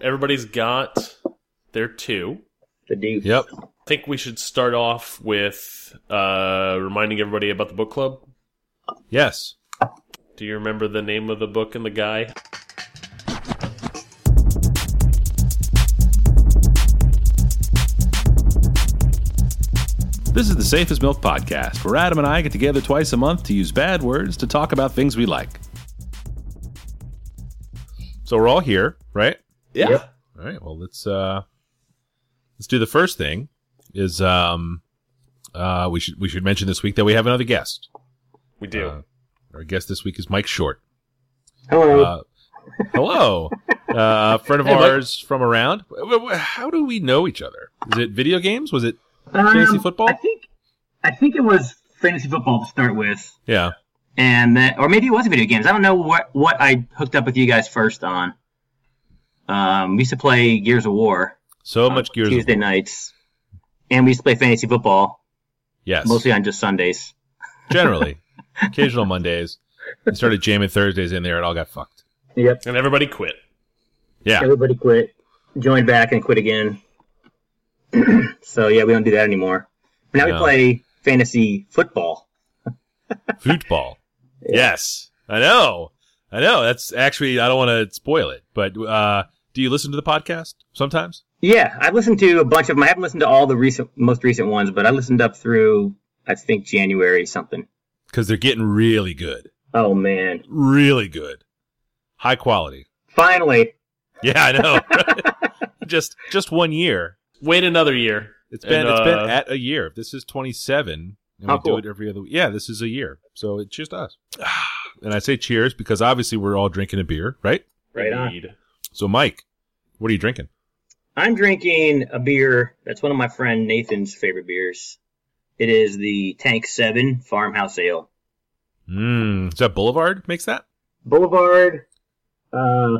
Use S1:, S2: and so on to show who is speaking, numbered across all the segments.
S1: Everybody's got their two.
S2: The dude.
S3: Yep.
S1: I think we should start off with uh, reminding everybody about the book club.
S3: Yes.
S1: Do you remember the name of the book and the guy?
S3: This is the Safest Milk Podcast, where Adam and I get together twice a month to use bad words to talk about things we like. So we're all here, right?
S1: Yeah.
S2: Yep.
S3: All right. Well, let's uh, let's do the first thing. Is um, uh, we should we should mention this week that we have another guest.
S1: We do.
S3: Uh, our guest this week is Mike Short.
S2: Hello.
S3: Uh, hello, uh, friend of
S1: Hey, Mike.
S3: ours from around. W- w- How do we know each other? Is it video games? Was it fantasy
S2: Um,
S3: football?
S2: I think I think it was fantasy football to start with,
S3: Yeah.
S2: and then or maybe it was video games. I don't know what what I hooked up with you guys first on. Um, we used to play Gears of
S1: Uh,
S2: War
S3: So much Gears. of
S2: Tuesday
S3: War.
S2: nights, and we used to play fantasy football
S3: Yes.
S2: mostly on just Sundays.
S3: Generally, occasional Mondays. We started jamming Thursdays in there. It all got fucked.
S2: Yep.
S1: and everybody quit.
S3: Yeah.
S2: Everybody quit, joined back, and quit again. so yeah, we don't do that anymore. Now
S3: No.
S2: we play fantasy football.
S3: Football. Yes. I know. I know. That's actually, I don't want to spoil it, but uh, do you listen to the podcast sometimes?
S2: Yeah, I've listened to a bunch of them. I haven't listened to all the recent, most recent ones, but I listened up through I think January something.
S3: Because they're getting really good.
S2: Oh man,
S3: Really good. High quality.
S2: finally!
S3: Yeah, I know. just just one year.
S1: Wait another year.
S3: It's been
S1: And,
S3: it's
S1: uh,
S3: been at a year. This is 27, and
S2: How
S3: we
S2: cool.
S3: do it every other. Yeah, this is a year, so it's just us. and I say cheers because obviously we're all drinking a beer, right?
S2: Right on.
S1: Indeed.
S3: So, Mike, what are you drinking?
S2: I'm drinking a beer that's one of my friend Nathan's favorite beers. It is the Tank Seven Farmhouse Ale,
S3: Mm, is that Boulevard makes that?
S2: Boulevard uh,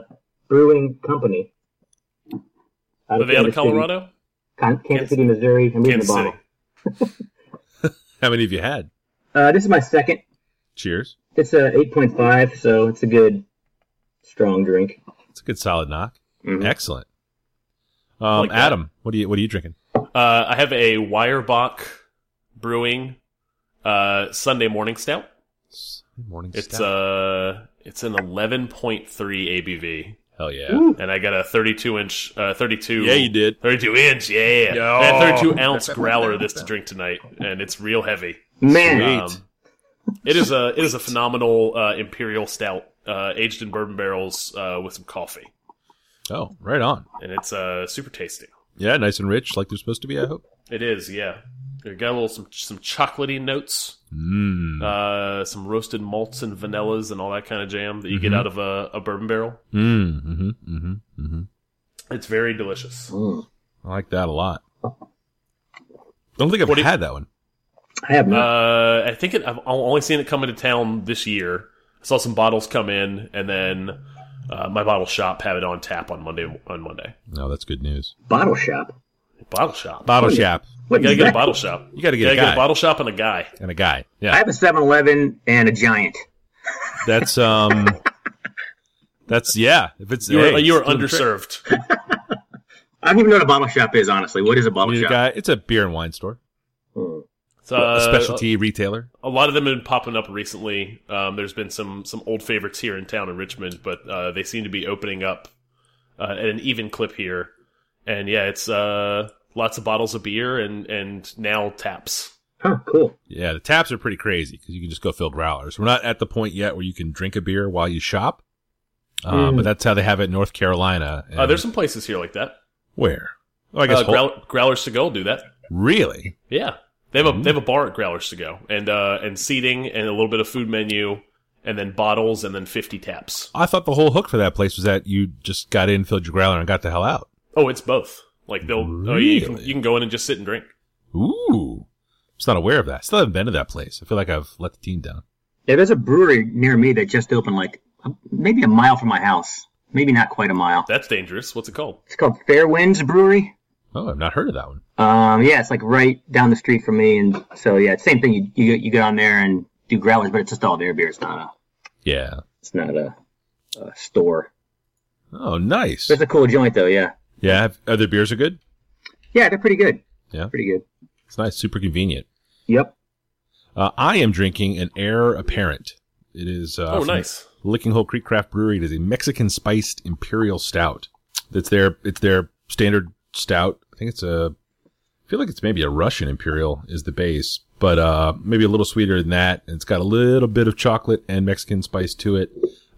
S2: Brewing Company.
S1: Are they out of Colorado? Kansas- City,
S2: Missouri. I'm
S1: Kansas City.
S3: How many have you had?
S2: Uh, this is my second.
S3: Cheers.
S2: It's a 8.5, so it's a good, strong drink.
S3: It's a good solid knock.
S2: Mhm.
S3: Excellent.
S1: I
S3: Um,
S1: like that.
S3: Adam, what are you what are you drinking?
S1: Uh, I have a Weyerbach Brewing uh, Sunday morning stout.
S3: Morning.
S1: It's
S3: stout.
S1: uh it's an 11.3 ABV,
S3: hell yeah.
S2: Ooh.
S1: and I got a 32 inch, uh, 32.
S3: Yeah, you did.
S1: 32 inch, yeah.
S3: Yo.
S1: I had 32 ounce growler of this to drink tonight, and it's real heavy. Um,
S2: Man,
S3: Sweet.
S1: it is a it is a phenomenal uh, imperial stout, uh, aged in bourbon barrels uh, with some coffee,
S3: Oh, right on.
S1: and it's uh, super tasty.
S3: Yeah, nice and rich, like they're supposed to be. I hope.
S1: It is, yeah. It got a little some some chocolatey notes,
S3: Mm.
S1: uh, some roasted malts and vanillas and all that kind of jam that you get
S3: Mhm.
S1: out of a, a bourbon barrel.
S3: Mm, mm-hmm, mm-hmm, mm-hmm.
S1: It's very delicious.
S2: Mm.
S3: I like that a lot. Don't think I've
S1: What do you-
S3: had that one.
S2: I have not.
S1: Uh, I think it, I've only seen it come into town this year. I saw some bottles come in, and then uh, my bottle shop have it on tap on Monday. On Monday,
S3: No, that's good news.
S2: Bottle Shop.
S1: bottle shop.
S3: Bottle
S2: Oh, yeah.
S3: shop
S1: you
S2: What
S1: gotta
S2: is
S1: get a
S2: that?
S1: bottle shop.
S3: You gotta get a
S1: gotta
S3: guy.
S1: get a bottle shop and a guy.
S3: and a guy.
S2: I
S3: Yeah,
S2: have a 7-Eleven and a Giant.
S3: that's um, that's yeah. If it's
S1: You are,
S3: hey,
S1: you are
S3: it's doing the trick.
S1: underserved.
S2: I don't even know what a bottle shop is, honestly. What is a
S3: You
S2: bottle
S3: need a
S2: shop?
S3: guy. It's a beer and wine store,
S2: Hmm.
S1: It's, uh,
S3: a specialty retailer.
S1: A lot of them have been popping up recently. Um, there's been some some old favorites here in town in Richmond, but uh, they seem to be opening up uh, at an even clip here. And yeah, it's uh, lots of bottles of beer and and now taps.
S2: Huh, cool.
S3: Yeah, the taps are pretty crazy because you can just go fill growlers. We're not at the point yet where you can drink a beer while you shop, uh,
S2: Mm.
S3: but that's how they have it in North Carolina.
S1: Uh,
S3: and-
S1: there's some places here like that.
S3: where? Oh, I guess
S1: uh,
S3: Hol-
S1: Growl Growlers to Go do that.
S3: really.
S1: Yeah, they have
S3: Mm-hmm.
S1: a they have a bar at Growlers to Go and uh, and seating and a little bit of food menu and then bottles and then 50 taps.
S3: I thought the whole hook for that place was that you just got in, filled your growler, and got the hell out.
S1: Oh, it's both. Like they'll oh, you can
S3: Really?
S1: you can go in and just sit and drink.
S3: Ooh. I was not aware of that. Still haven't been to that place. I feel like I've let the team down.
S2: Yeah, there's a brewery near me that just opened, like, a- maybe a mile from my house. Maybe not quite a mile.
S1: That's dangerous. What's it called?
S2: It's called Fairwinds Brewery.
S3: Oh, I've not heard of that one.
S2: Um, yeah, it's like right down the street from me, and so yeah, it's same thing. You you, go- you go down there and do growlers, but it's just all their beer. It's not a
S3: Yeah.
S2: it's not a, a store.
S3: Oh, nice.
S4: It's a cool joint though. Yeah.
S3: Yeah, have- other beers are good.
S4: Yeah, they're pretty good.
S3: Yeah.
S4: Pretty good.
S3: It's nice, super convenient.
S4: Yep.
S3: Uh, I am drinking an Heir Apparent. It is uh,
S1: oh,
S3: from
S1: nice.
S3: Licking Hole Creek Craft Brewery. It is a Mexican spiced imperial stout. That's their it's their standard stout. I think it's a I feel like it's maybe a Russian imperial is the base, but uh maybe a little sweeter than that. It's got a little bit of chocolate and Mexican spice to it.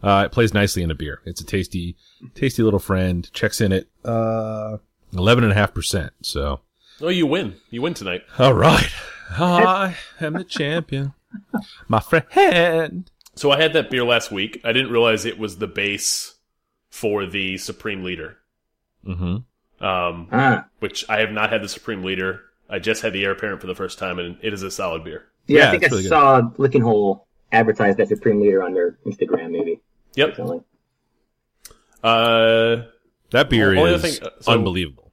S3: Uh it plays nicely in a beer. It's a tasty tasty little friend. Checks in at uh 11.5%. So,
S1: Oh, you win. You win tonight.
S3: all right. I am the champion. My friend.
S1: So I had that beer last week. I didn't realize it was the base for the Supreme Leader,
S3: Mm-hmm.
S1: um,
S4: Ah.
S1: which I have not had the Supreme Leader. I just had the Air Parent for the first time, and it is a solid beer.
S4: Yeah,
S3: Yeah,
S4: I think I
S3: it's really good.
S4: saw Licking Hole advertised that Supreme Leader on their Instagram, maybe.
S1: Yep.
S4: Something.
S1: Uh,
S3: That beer
S1: Only
S3: is
S1: other thing- uh, so-
S3: unbelievable.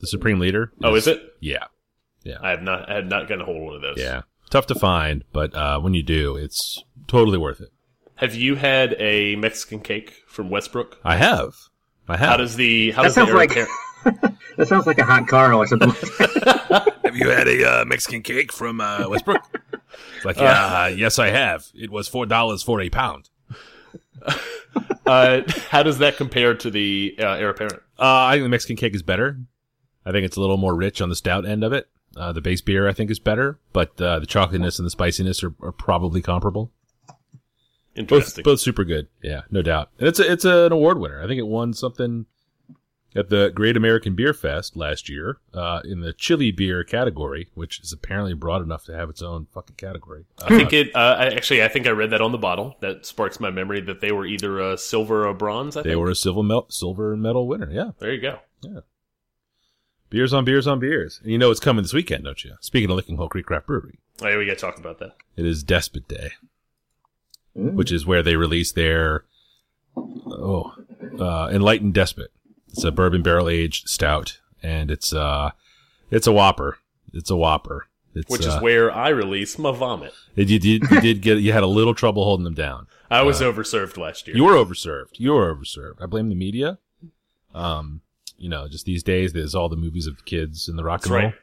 S3: The Supreme Leader.
S1: oh, is it?
S3: Yeah,
S1: I have not. I had not gotten a hold of one of those.
S3: yeah. Tough to find, but uh, when you do, it's totally worth it.
S1: Have you had a Mexican cake from Westbrook?
S3: I have, I have.
S1: How does the how
S4: That
S1: does the
S4: sounds
S1: Air
S4: like-
S1: Parent?
S4: That sounds like a hot Carl or something. like that.
S3: have you had a uh, Mexican cake from uh, Westbrook? It's like, yeah, uh, yes, I have. It was four dollars for a pound.
S1: Uh, how does that compare to the uh, Air Parent?
S3: Uh, I think the Mexican cake is better. I think it's a little more rich on the stout end of it. Uh, the base beer, I think, is better, but uh, the chocolatiness and the spiciness are, are probably comparable. both
S1: Interesting.
S3: both super good. Yeah, no doubt. And it's a, it's an award winner. I think it won something at the Great American Beer Fest last year uh, in the chili beer category, which is apparently broad enough to have its own fucking category.
S1: I
S3: Uh,
S1: think it. Uh, I, actually, I think I read that on the bottle. That sparks my memory that they were either uh, silver or bronze. I
S3: they
S1: think.
S3: were a silver mel- silver medal winner. Yeah,
S1: There you go.
S3: beers on beers on beers. And you know it's coming this weekend, don't you? Speaking of Licking Hole Creek Craft Brewery,
S1: Oh, yeah, we got to talk about that.
S3: it is Despot Day.
S4: Mm.
S3: which is where they release their oh uh, enlightened despot. It's a bourbon barrel aged stout, and it's uh it's a whopper. It's a whopper. It's,
S1: Which
S3: uh,
S1: is where I release my vomit.
S3: it- you did you did get you had a little trouble holding them down.
S1: I was overserved last year.
S3: uh, You were overserved. You were overserved. I blame the media. Um, you know, just these days there's all the movies of the kids and the rock
S1: That's
S3: and roll.
S1: right.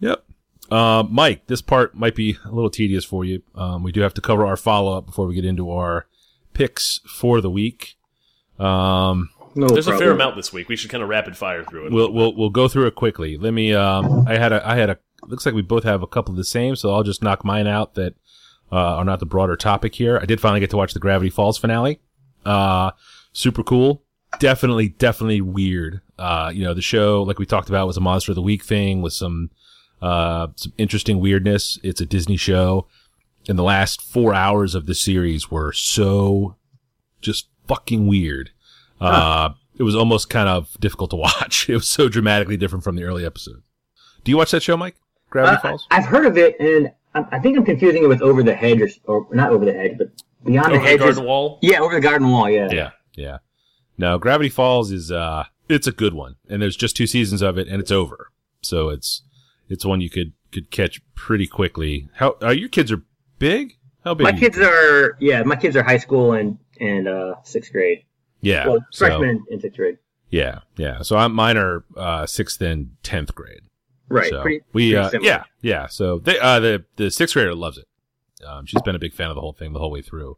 S3: Yep. Uh, Mike, this part might be a little tedious for you. Um, we do have to cover our follow up before we get into our picks for the week. Um,
S4: No
S1: There's a fair
S4: problem.
S1: amount this week. We should kind of rapid fire through it.
S3: we'll we'll we'll go through it quickly. Let me. Um, I had a I had a. Looks like we both have a couple of the same, so I'll just knock mine out that uh, are not the broader topic here. I did finally get to watch the Gravity Falls finale. Uh, super cool. Definitely, definitely weird. Uh, you know, the show, like we talked about, was a monster of the week thing with some uh, some interesting weirdness. It's a Disney show, and the last four hours of the series were so just fucking weird. Uh, it was almost kind of difficult to watch. It was so dramatically different from the early episodes. Do you watch that show, Mike? Gravity
S4: Uh,
S3: Falls?
S4: I've heard of it, and I, I think I'm confusing it with Over the Hedge, or, s- or not Over the Hedge, but Beyond
S1: Over
S4: the
S1: the
S4: Hedge.
S1: garden wall.
S4: Yeah, Over the Garden Wall. Yeah.
S3: Yeah. Yeah. No, Gravity Falls is uh it's a good one. And there's just two seasons of it and it's over. So it's it's one you could could catch pretty quickly. How uh, your kids are big? How big?
S4: My
S3: are you?
S4: kids are yeah, my kids are high school and and uh, sixth grade.
S3: Yeah.
S4: well,
S3: so-
S4: freshman and sixth grade.
S3: yeah. Yeah. So I'm mine are uh 6th and 10th grade.
S4: Right.
S3: So
S4: pretty,
S3: we
S4: pretty
S3: uh,
S4: similar.
S3: yeah yeah. So they, uh, the the sixth grader loves it. Um, she's been a big fan of the whole thing the whole way through.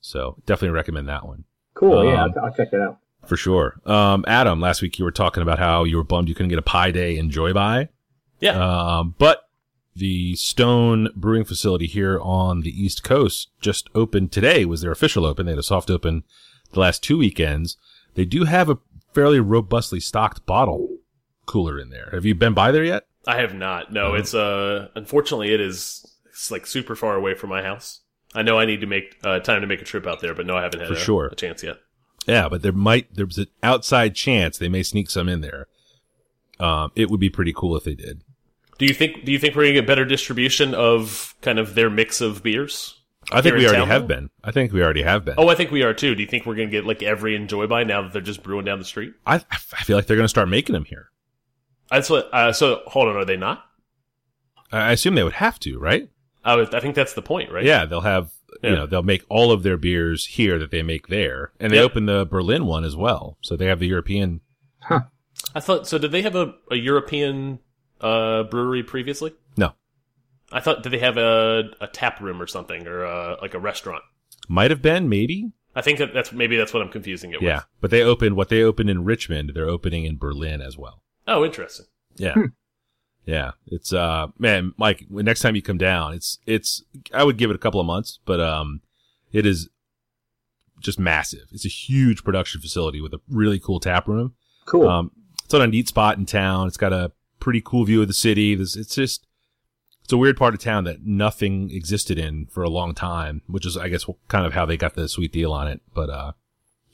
S3: So definitely recommend that one
S4: Cool. yeah,
S3: Um,
S4: I'll, I'll check that out.
S3: for sure. Um, Adam, last week you were talking about how you were bummed you couldn't get a pie day in Joy Buy.
S1: Yeah.
S3: Um, but the Stone Brewing Facility here on the East Coast just opened today was their official open. They had a soft open the last two weekends. They do have a fairly robustly stocked bottle cooler in there. Have you been by there yet?
S1: I have not. No,
S3: Oh.
S1: it's uh unfortunately it is it's like super far away from my house. I know I need to make uh, time to make a trip out there, but no, I haven't had
S3: For
S1: a,
S3: sure.
S1: a chance yet.
S3: Yeah, but there might there's an outside chance they may sneak some in there. Um, it would be pretty cool if they did.
S1: Do you think do you think we're gonna get better distribution of kind of their mix of beers?
S3: I
S1: Here
S3: think we
S1: in
S3: already
S1: town,
S3: have
S1: though?
S3: been. I think we already have been.
S1: Oh, I think we are too. Do you think we're gonna get like every enjoy by now that they're just brewing down the street?
S3: I, I feel like they're going to start making them here.
S1: That's what. Uh, so hold on, are they not?
S3: I I assume they would have to, right?
S1: I, would, I think that's the point, right?
S3: Yeah, they'll have
S1: Yeah.
S3: you know they'll make all of their beers here that they make there, and they
S1: Yep.
S3: open the Berlin one as well. So they have the European.
S1: I thought so. Did they have a, a European uh, brewery previously?
S3: No,
S1: I thought did they have a a tap room or something or uh like a restaurant?
S3: might have been maybe.
S1: I think that that's maybe that's what I'm confusing it
S3: Yeah,
S1: with.
S3: but they opened what they opened in Richmond. They're opening in Berlin as well.
S1: Oh, interesting.
S3: Yeah. Yeah. It's uh man, Mike, when- next time you come down, it's it's I would give it a couple of months, but um it is just massive. It's a huge production facility with a really cool tap room.
S4: Cool.
S3: Um it's on a neat spot in town. It's got a pretty cool view of the city. There's, it's just it's a weird part of town that nothing existed in for a long time, which is I guess kind of how they got the sweet deal on it, but uh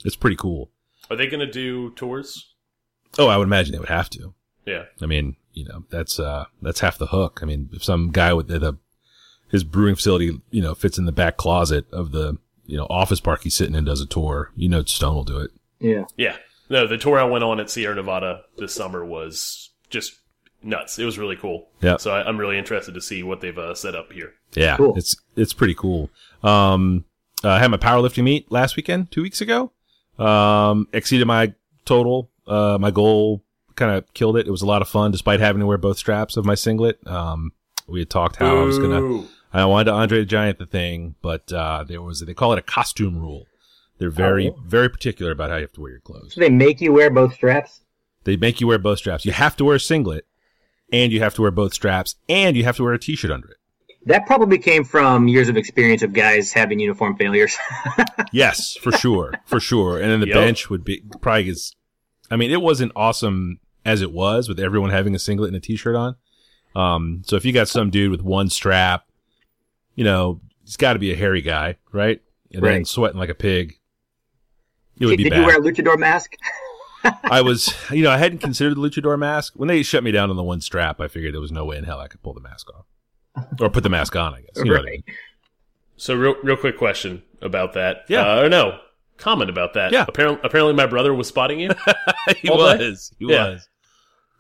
S3: it's pretty cool.
S1: Are they going to do tours?
S3: Oh, I would imagine they would have to.
S1: Yeah.
S3: I mean, you know, that's uh that's half the hook. I mean, if some guy with the, the- his brewing facility, you know, fits in the back closet of the you know office park he's sitting in and does a tour, you know, Stone will do it.
S4: yeah.
S1: Yeah. No, the tour I went on at Sierra Nevada this summer was just nuts. It was really cool.
S3: Yeah.
S1: So I, I'm really interested to see what they've uh, set up here.
S3: Yeah,
S4: Cool.
S3: it's it's pretty cool. Um, I had my powerlifting meet last weekend, two weeks ago. Um, exceeded my total, uh, my goal. Kind of killed it. It was a lot of fun, despite having to wear both straps of my singlet. Um, we had talked how Oh, I was gonna
S1: Boo.
S3: I wanted to Andre the Giant the thing, but uh, there was they call it a costume rule. They're very very particular about how you have to wear your clothes.
S4: So they make you wear both straps.
S3: They make you wear both straps. You have to wear a singlet, and you have to wear both straps, and you have to wear a t-shirt under it.
S4: That probably came from years of experience of guys having uniform failures.
S3: Yes, for sure, for sure. And then the
S1: Yep.
S3: bench would be probably is. I mean, it wasn't awesome as it was with everyone having a singlet and a t-shirt on. Um, so if you got some dude with one strap, you know, he's got to be a hairy guy, right? And then
S4: Right.
S3: sweating like a pig. It would
S4: Did
S3: be
S4: did
S3: bad.
S4: you wear a luchador mask?
S3: I was, you know, I hadn't considered the luchador mask. When they shut me down on the one strap, I figured there was no way in hell I could pull the mask off or put the mask on. I guess. You know what I mean.
S4: Right.
S1: So real, real quick question about that.
S3: Yeah.
S1: Uh, or no, comment about that.
S3: Yeah.
S1: Apparently, apparently my brother was spotting you.
S3: he
S1: All day?
S3: was. He
S1: Yeah.
S3: was.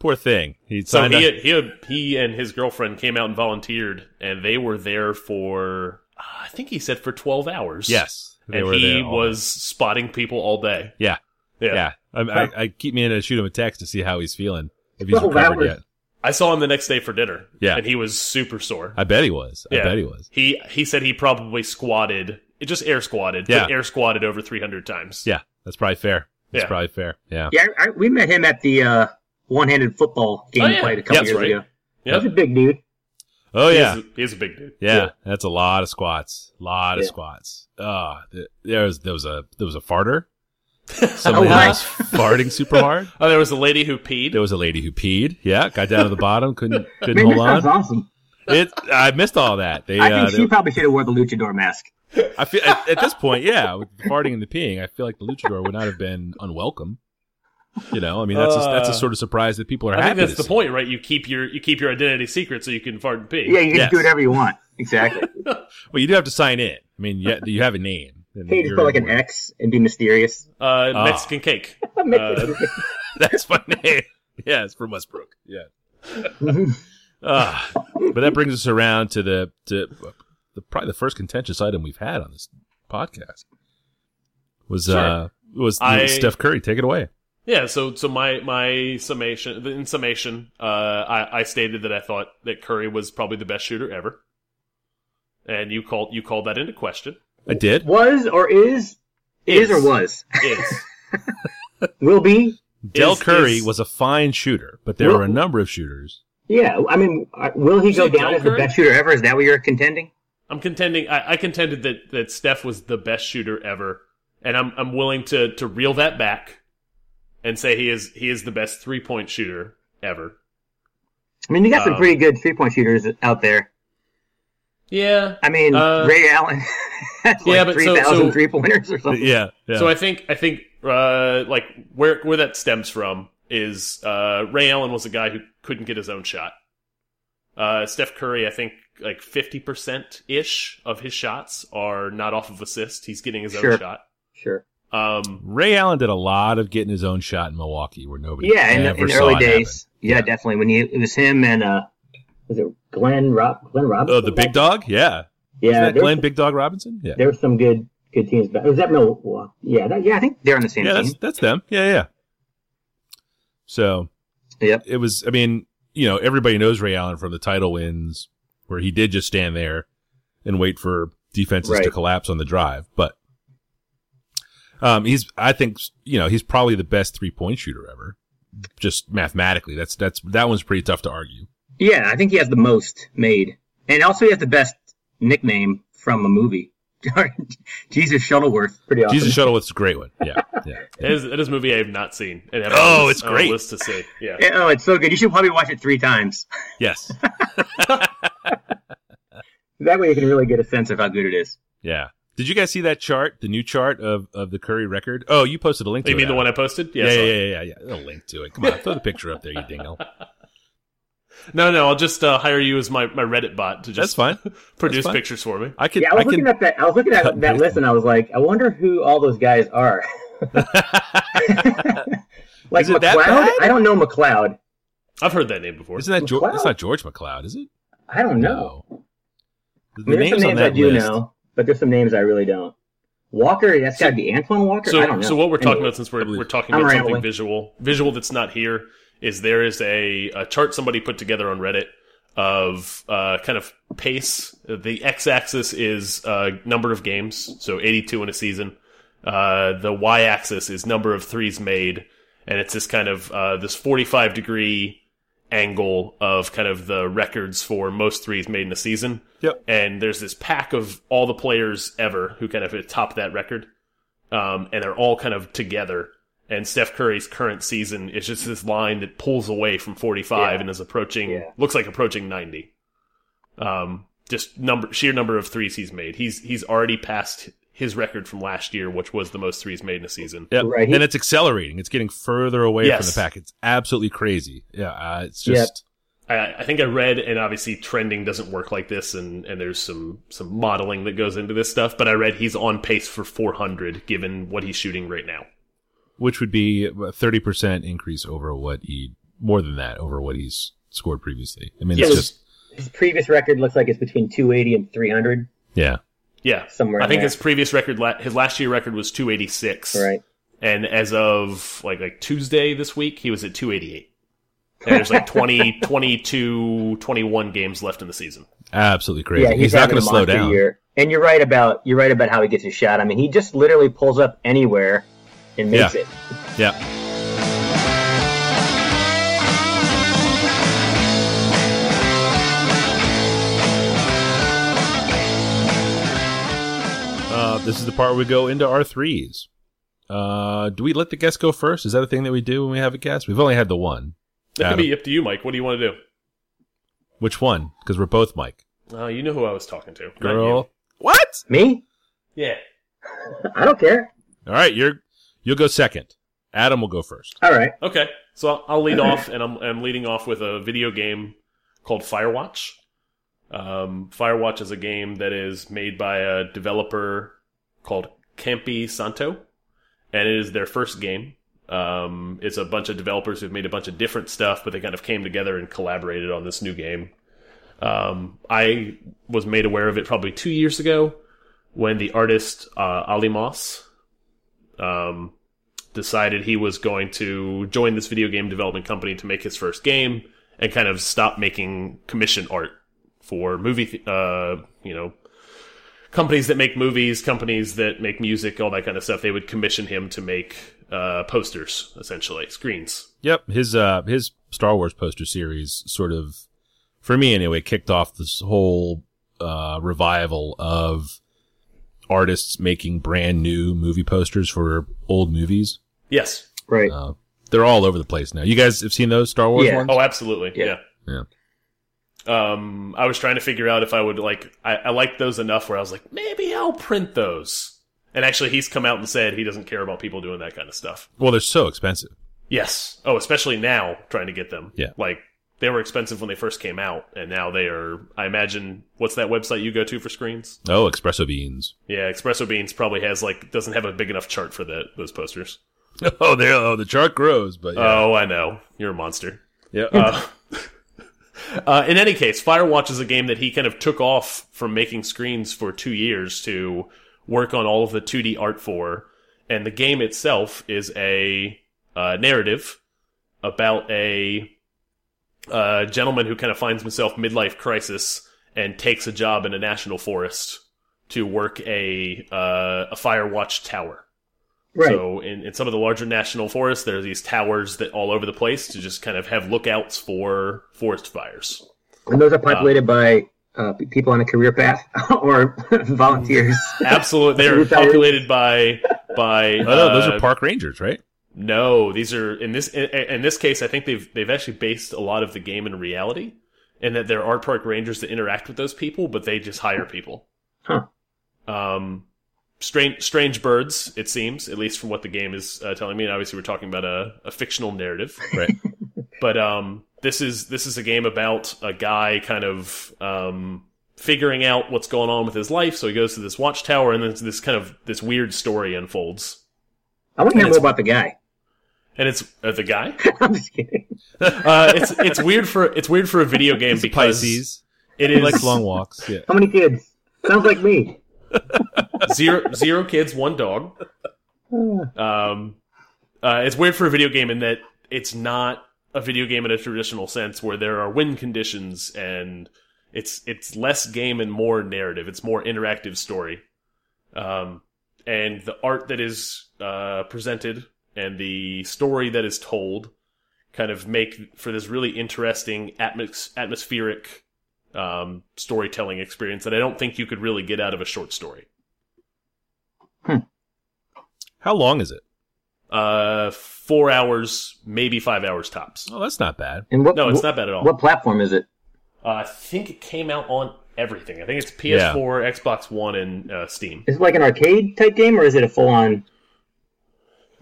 S3: Poor thing. He
S1: so
S3: signed up-
S1: he, he, he and his girlfriend came out and volunteered, and they were there for, uh, I think he said for 12 hours.
S3: Yes. They
S1: and
S3: were
S1: he
S3: there all
S1: was spotting people all day.
S3: Yeah.
S1: Yeah.
S3: day. Yeah. I, I, I keep meaning to shoot him a text to see how he's feeling. If he's
S4: Oh, that
S3: recovered
S4: was-
S3: yet.
S1: I saw him the next day for dinner.
S3: Yeah.
S1: And he was super sore.
S3: I bet he was.
S1: Yeah.
S3: I bet he was.
S1: He he said he probably squatted, it just air squatted,
S3: Yeah.
S1: but air squatted over 300 times.
S3: Yeah. That's probably fair. That's
S1: Yeah.
S3: probably fair. Yeah.
S4: Yeah, I, I, we met him at the uh, one-handed football game
S1: Oh,
S4: we
S1: yeah.
S4: played a couple
S1: That's
S4: years
S1: right.
S4: ago.
S1: Yep.
S4: He's a big dude.
S3: Oh,
S1: He
S3: yeah.
S1: is- He is a big dude.
S3: Yeah,
S1: Yeah.
S3: that's a lot of squats. Lot of
S4: Yeah.
S3: squats. Ah, th there was there was a there was a farter. Somebody that
S4: wow.
S3: was farting super hard.
S1: Oh, there was a lady who peed.
S3: There was a lady who peed. Yeah, got down to the bottom, couldn't couldn't
S4: Man, that
S3: hold
S4: sounds
S3: on.
S4: awesome.
S3: It, I missed all that. They,
S4: I
S3: uh,
S4: think
S3: they-
S4: she probably should have wore the luchador mask.
S3: I feel at, at this point, yeah, with the farting and the peeing, I feel like the luchador would not have been unwelcome. You know, I mean, that's a, that's a
S1: Uh,
S3: sort of surprise that people are
S1: I think
S3: happy.
S1: that's
S3: to
S1: the
S3: see.
S1: point, right? You keep your you keep your identity secret so you can fart and pee.
S4: Yeah, you can
S3: Yes.
S4: do whatever you want. Exactly.
S3: Well, you do have to sign in. I mean, you, you have a name. and
S4: Can you just
S3: you're
S4: put like an
S3: involved.
S4: X and be mysterious?
S1: Uh,
S3: Ah.
S1: Mexican cake. Uh,
S4: Mexican
S3: That's my name. Yeah, it's from Westbrook. Yeah.
S4: Mhm.
S3: Uh, but that brings us around to the to the, probably the first contentious item we've had on this podcast was uh was
S1: I-
S3: Steph Curry. Take it away.
S1: Yeah, so so my my summation in summation, uh, I, I stated that I thought that Curry was probably the best shooter ever, and you called you called that into question.
S3: I did.
S4: was or is, is or
S1: Is.
S4: was
S1: Is
S4: will be.
S3: Del
S1: is-
S3: Curry
S1: is-
S3: was a fine shooter, but there
S4: Well-
S3: were a number of shooters.
S4: Yeah, I mean, uh, will he
S1: You
S4: go
S1: say
S4: down as the
S1: Joker?
S4: best shooter ever? Is that what you're contending?
S1: I'm contending. I, I contended that that Steph was the best shooter ever, and I'm I'm willing to to reel that back, and say he is he is the best three point shooter ever.
S4: I mean, you got some
S1: Um,
S4: pretty good three point shooters out there.
S1: Yeah.
S4: I mean,
S1: Uh,
S4: Ray Allen has
S1: yeah,
S4: like
S1: but
S4: three
S1: so-
S4: thousand three
S1: so-
S4: pointers or something.
S3: Yeah. yeah.
S1: So I think I think uh, like where where that stems from is uh, Ray Allen was a guy who couldn't get his own shot. Uh, Steph Curry, I think like fifty percent ish of his shots are not off of assist. He's getting his
S4: Sure.
S1: own shot.
S4: Sure.
S1: Um,
S3: Ray Allen did a lot of getting his own shot in Milwaukee, where nobody
S4: Yeah, in,
S3: ever
S4: in the
S3: saw
S4: early
S3: it
S4: days. Yeah, definitely. When he it was him and uh, was it Glenn Rob Glenn
S3: happen.
S4: Robinson?
S3: Oh, the big dog. Yeah. Is
S2: Yeah,
S3: that
S2: there's,
S3: Glenn Big Dog Robinson? Yeah.
S2: there's some good good teams. But was that Milwaukee? Yeah, that,
S4: Yeah, I think they're on the same
S3: Yeah,
S4: team.
S3: that's that's them. Yeah, yeah. So
S4: Yep.
S3: it was I mean, you know, everybody knows Ray Allen from the title wins where he did just stand there and wait for defenses to
S2: Right.
S3: collapse on the drive, but um he's I think you know, he's probably the best three-point shooter ever. Just mathematically. That's that's that one's pretty tough to argue.
S4: Yeah, I think he has the most made, and also he has the best nickname from a movie. Jesus Shuttleworth.
S2: pretty awesome.
S3: Jesus Shuttleworth's a great one. Yeah. Yeah.
S1: It is, it is a movie I have not seen. And have on
S3: Oh,
S1: a
S3: it's
S1: on a
S3: great.
S1: list to see. Yeah.
S4: Yeah, Oh, it's so good. You should probably watch it three times.
S3: yes.
S4: That way, you can really get a sense of how good it is.
S3: Yeah. Did you guys see that chart, the new chart of, of the Curry record? Oh, you posted a link to
S1: You mean
S3: it,
S1: the
S3: Adam.
S1: one I posted?
S3: Yeah,
S1: so-
S3: yeah, yeah, yeah, yeah. A link to it. Come on, throw the picture up there, you dingo.
S1: No, no, I'll just uh, hire you as my, my Reddit bot to
S3: That's
S1: just
S3: fine.
S1: produce
S3: fine.
S1: pictures for me.
S3: I can.
S2: Yeah, I
S3: I,
S2: was looking
S3: can.
S2: at that. I was looking
S3: cut and
S2: at that
S3: paste
S2: list,
S3: them.
S2: and I was like, I wonder who all those guys are. Like
S3: Is it that
S2: McLeod,
S3: bad?
S2: I don't know McLeod.
S1: I've heard that name before.
S3: Isn't that George?
S2: McLeod?
S3: That's not George McLeod, is it?
S2: I don't know.
S3: The
S2: I mean, there's
S3: names
S2: some
S3: on
S2: names I
S3: that
S2: do
S3: list.
S2: know, but there's some names I really don't. Walker, that's got to be Antoine Walker. I
S1: So,
S2: don't know.
S1: so what we're talking
S2: Anyway,
S1: about since we're,
S3: believe-
S1: we're talking
S2: I'm
S1: about something
S2: rambling.
S1: visual, visual that's not here, is there is a, a chart somebody put together on Reddit of uh, kind of pace. The x-axis is uh, number of games, so 82 in a season. Uh, the y-axis is number of threes made, and it's this kind of uh, this 45 degree angle of kind of the records for most threes made in a season.
S3: Yep.
S1: And there's this pack of all the players ever who kind of top that record um, and they're all kind of together. And Steph Curry's current season is just this line that pulls away from 45
S2: Yeah.
S1: and is approaching,
S2: Yeah.
S1: looks like approaching 90. Um, just number sheer number of threes he's made. He's he's already passed his record from last year, which was the most threes made in a season.
S3: Yep.
S2: Right, he-
S3: and it's accelerating. It's getting further away
S1: Yes.
S3: from the pack. It's absolutely crazy. Yeah, uh, it's
S2: Yep.
S3: just
S1: I, I think I read, and obviously trending doesn't work like this, and, and there's some some modeling that goes into this stuff. But I read he's on pace for 400 given what he's shooting right now.
S3: which would be a thirty percent increase over what he more than that over what he's scored previously. I mean,
S1: Yeah,
S3: it's
S1: it
S2: was-
S3: just
S2: his previous record looks like it's between 280 and 300
S3: yeah.
S1: Yeah,
S2: somewhere.
S1: I
S2: in
S1: think
S2: there.
S1: his previous record, la- his last year record was 286.
S2: right.
S1: and as of like like Tuesday this week, he was at 288. And there's like 20, 22, 21 games left in the season.
S3: Absolutely crazy.
S2: Yeah,
S3: he's,
S2: he's,
S3: not
S2: having
S3: going
S2: a
S3: to slow
S2: monster
S3: down.
S2: Year. And you're right about you're right about how he gets his shot. I mean, he just literally pulls up anywhere and makes
S3: Yeah.
S2: it.
S3: Yeah. Uh, this is the part where we go into our threes. Uh, do we let the guest go first? Is that a thing that we do when we have a guest? We've only had the one.
S1: That could
S3: Adam.
S1: be up to you, Mike. What do you want to do?
S3: Which one? Because we're both Mike.
S1: Uh, you know who I was talking to. not
S3: Girl. What?
S2: Me?
S1: you. Yeah.
S2: I don't care.
S3: All right, you're you'll go second. Adam will go first.
S2: All right.
S1: Okay. So I'll- I'll lead off, and I'm, I'm leading off with a video game called Firewatch. Um, Firewatch is a game that is made by a developer called Campi Santo, and it is their first game. Um, it's a bunch of developers who've made a bunch of different stuff, but they kind of came together and collaborated on this new game. Um, I was made aware of it probably two years ago when the artist uh, Ali Moss um, decided he was going to join this video game development company to make his first game and kind of stop making commission art for movie, th- uh, you know, companies that make movies, companies that make music, all that kind of stuff. They would commission him to make uh, posters, essentially screens.
S3: Yep, his uh his Star Wars poster series sort of for me anyway kicked off this whole uh revival of artists making brand new movie posters for old movies.
S1: Yes.
S2: Right.
S3: Uh, they're all over the place now. You guys have seen those Star Wars
S2: Yeah.
S3: ones?
S1: Oh, absolutely. Yeah.
S2: Yeah.
S3: Yeah.
S1: Um, I was trying to figure out if I would like. I, I liked those enough where I was like, maybe I'll print those. And actually, he's come out and said he doesn't care about people doing that kind of stuff.
S3: Well, they're so expensive.
S1: Yes. Oh, especially now trying to get them.
S3: Yeah.
S1: Like they were expensive when they first came out, and now they are. I imagine what's that website you go to for screens?
S3: Oh, espresso beans.
S1: Yeah, Espresso Beans probably has like doesn't have a big enough chart for that those posters.
S3: oh,
S1: Uh,
S3: there. Oh, the chart grows, but yeah.
S1: Oh, I know. You're a monster.
S3: yeah.
S1: Uh, Uh, in any case, Firewatch is a game that he kind of took off from making screens for two years to work on all of the 2D art for. And the game itself is a uh, narrative about a uh, gentleman who kind of finds himself midlife crisis and takes a job in a national forest to work a uh, a Firewatch tower.
S2: Right.
S1: So in, in some of the larger national forests, there are these towers that all over the place to just kind of have lookouts for forest fires.
S2: and those are populated by uh, p- people on a career path or volunteers.
S1: Absolutely, they are
S2: Career fires.
S1: populated by by.
S3: Oh, no, those
S1: uh,
S3: are park rangers, right?
S1: No, these are in this in, in this case. I think they've they've actually based a lot of the game in reality, and that there are park rangers that interact with those people, but they just hire people.
S2: Huh.
S1: Um, strange strange birds. It seems, at least from what the game is uh, telling me. And obviously, we're talking about a, a fictional narrative,
S3: Right.
S1: but um, this is this is a game about a guy kind of um figuring out what's going on with his life. So he goes to this watchtower, and then this kind of this weird story unfolds.
S2: I want to hear
S1: And it's-
S2: more about the guy.
S1: And it's uh, the guy.
S2: I'm just kidding.
S1: uh, it's it's weird for it's weird for a video game because
S3: Pisces.
S1: it
S3: He
S1: is
S3: likes long walks. Yeah.
S2: How many kids? Sounds like me.
S1: zero zero kids, one dog. Um, uh, it's weird for a video game in that it's not a video game in a traditional sense where there are win conditions and it's it's less game and more narrative. It's more interactive story. Um, and the art that is uh, presented and the story that is told kind of make for this really interesting atmos atmospheric um, storytelling experience that I don't think you could really get out of a short story.
S3: How long is it?
S1: Uh, four hours, maybe five hours tops.
S3: Oh, that's not bad.
S2: And what?
S1: No, it's
S2: wh-
S1: not bad at all.
S2: What platform is it?
S1: Uh, I think it came out on everything. I think it's PS4, Xbox One, and uh, Steam.
S2: Is it like an arcade type game, or is it a full on?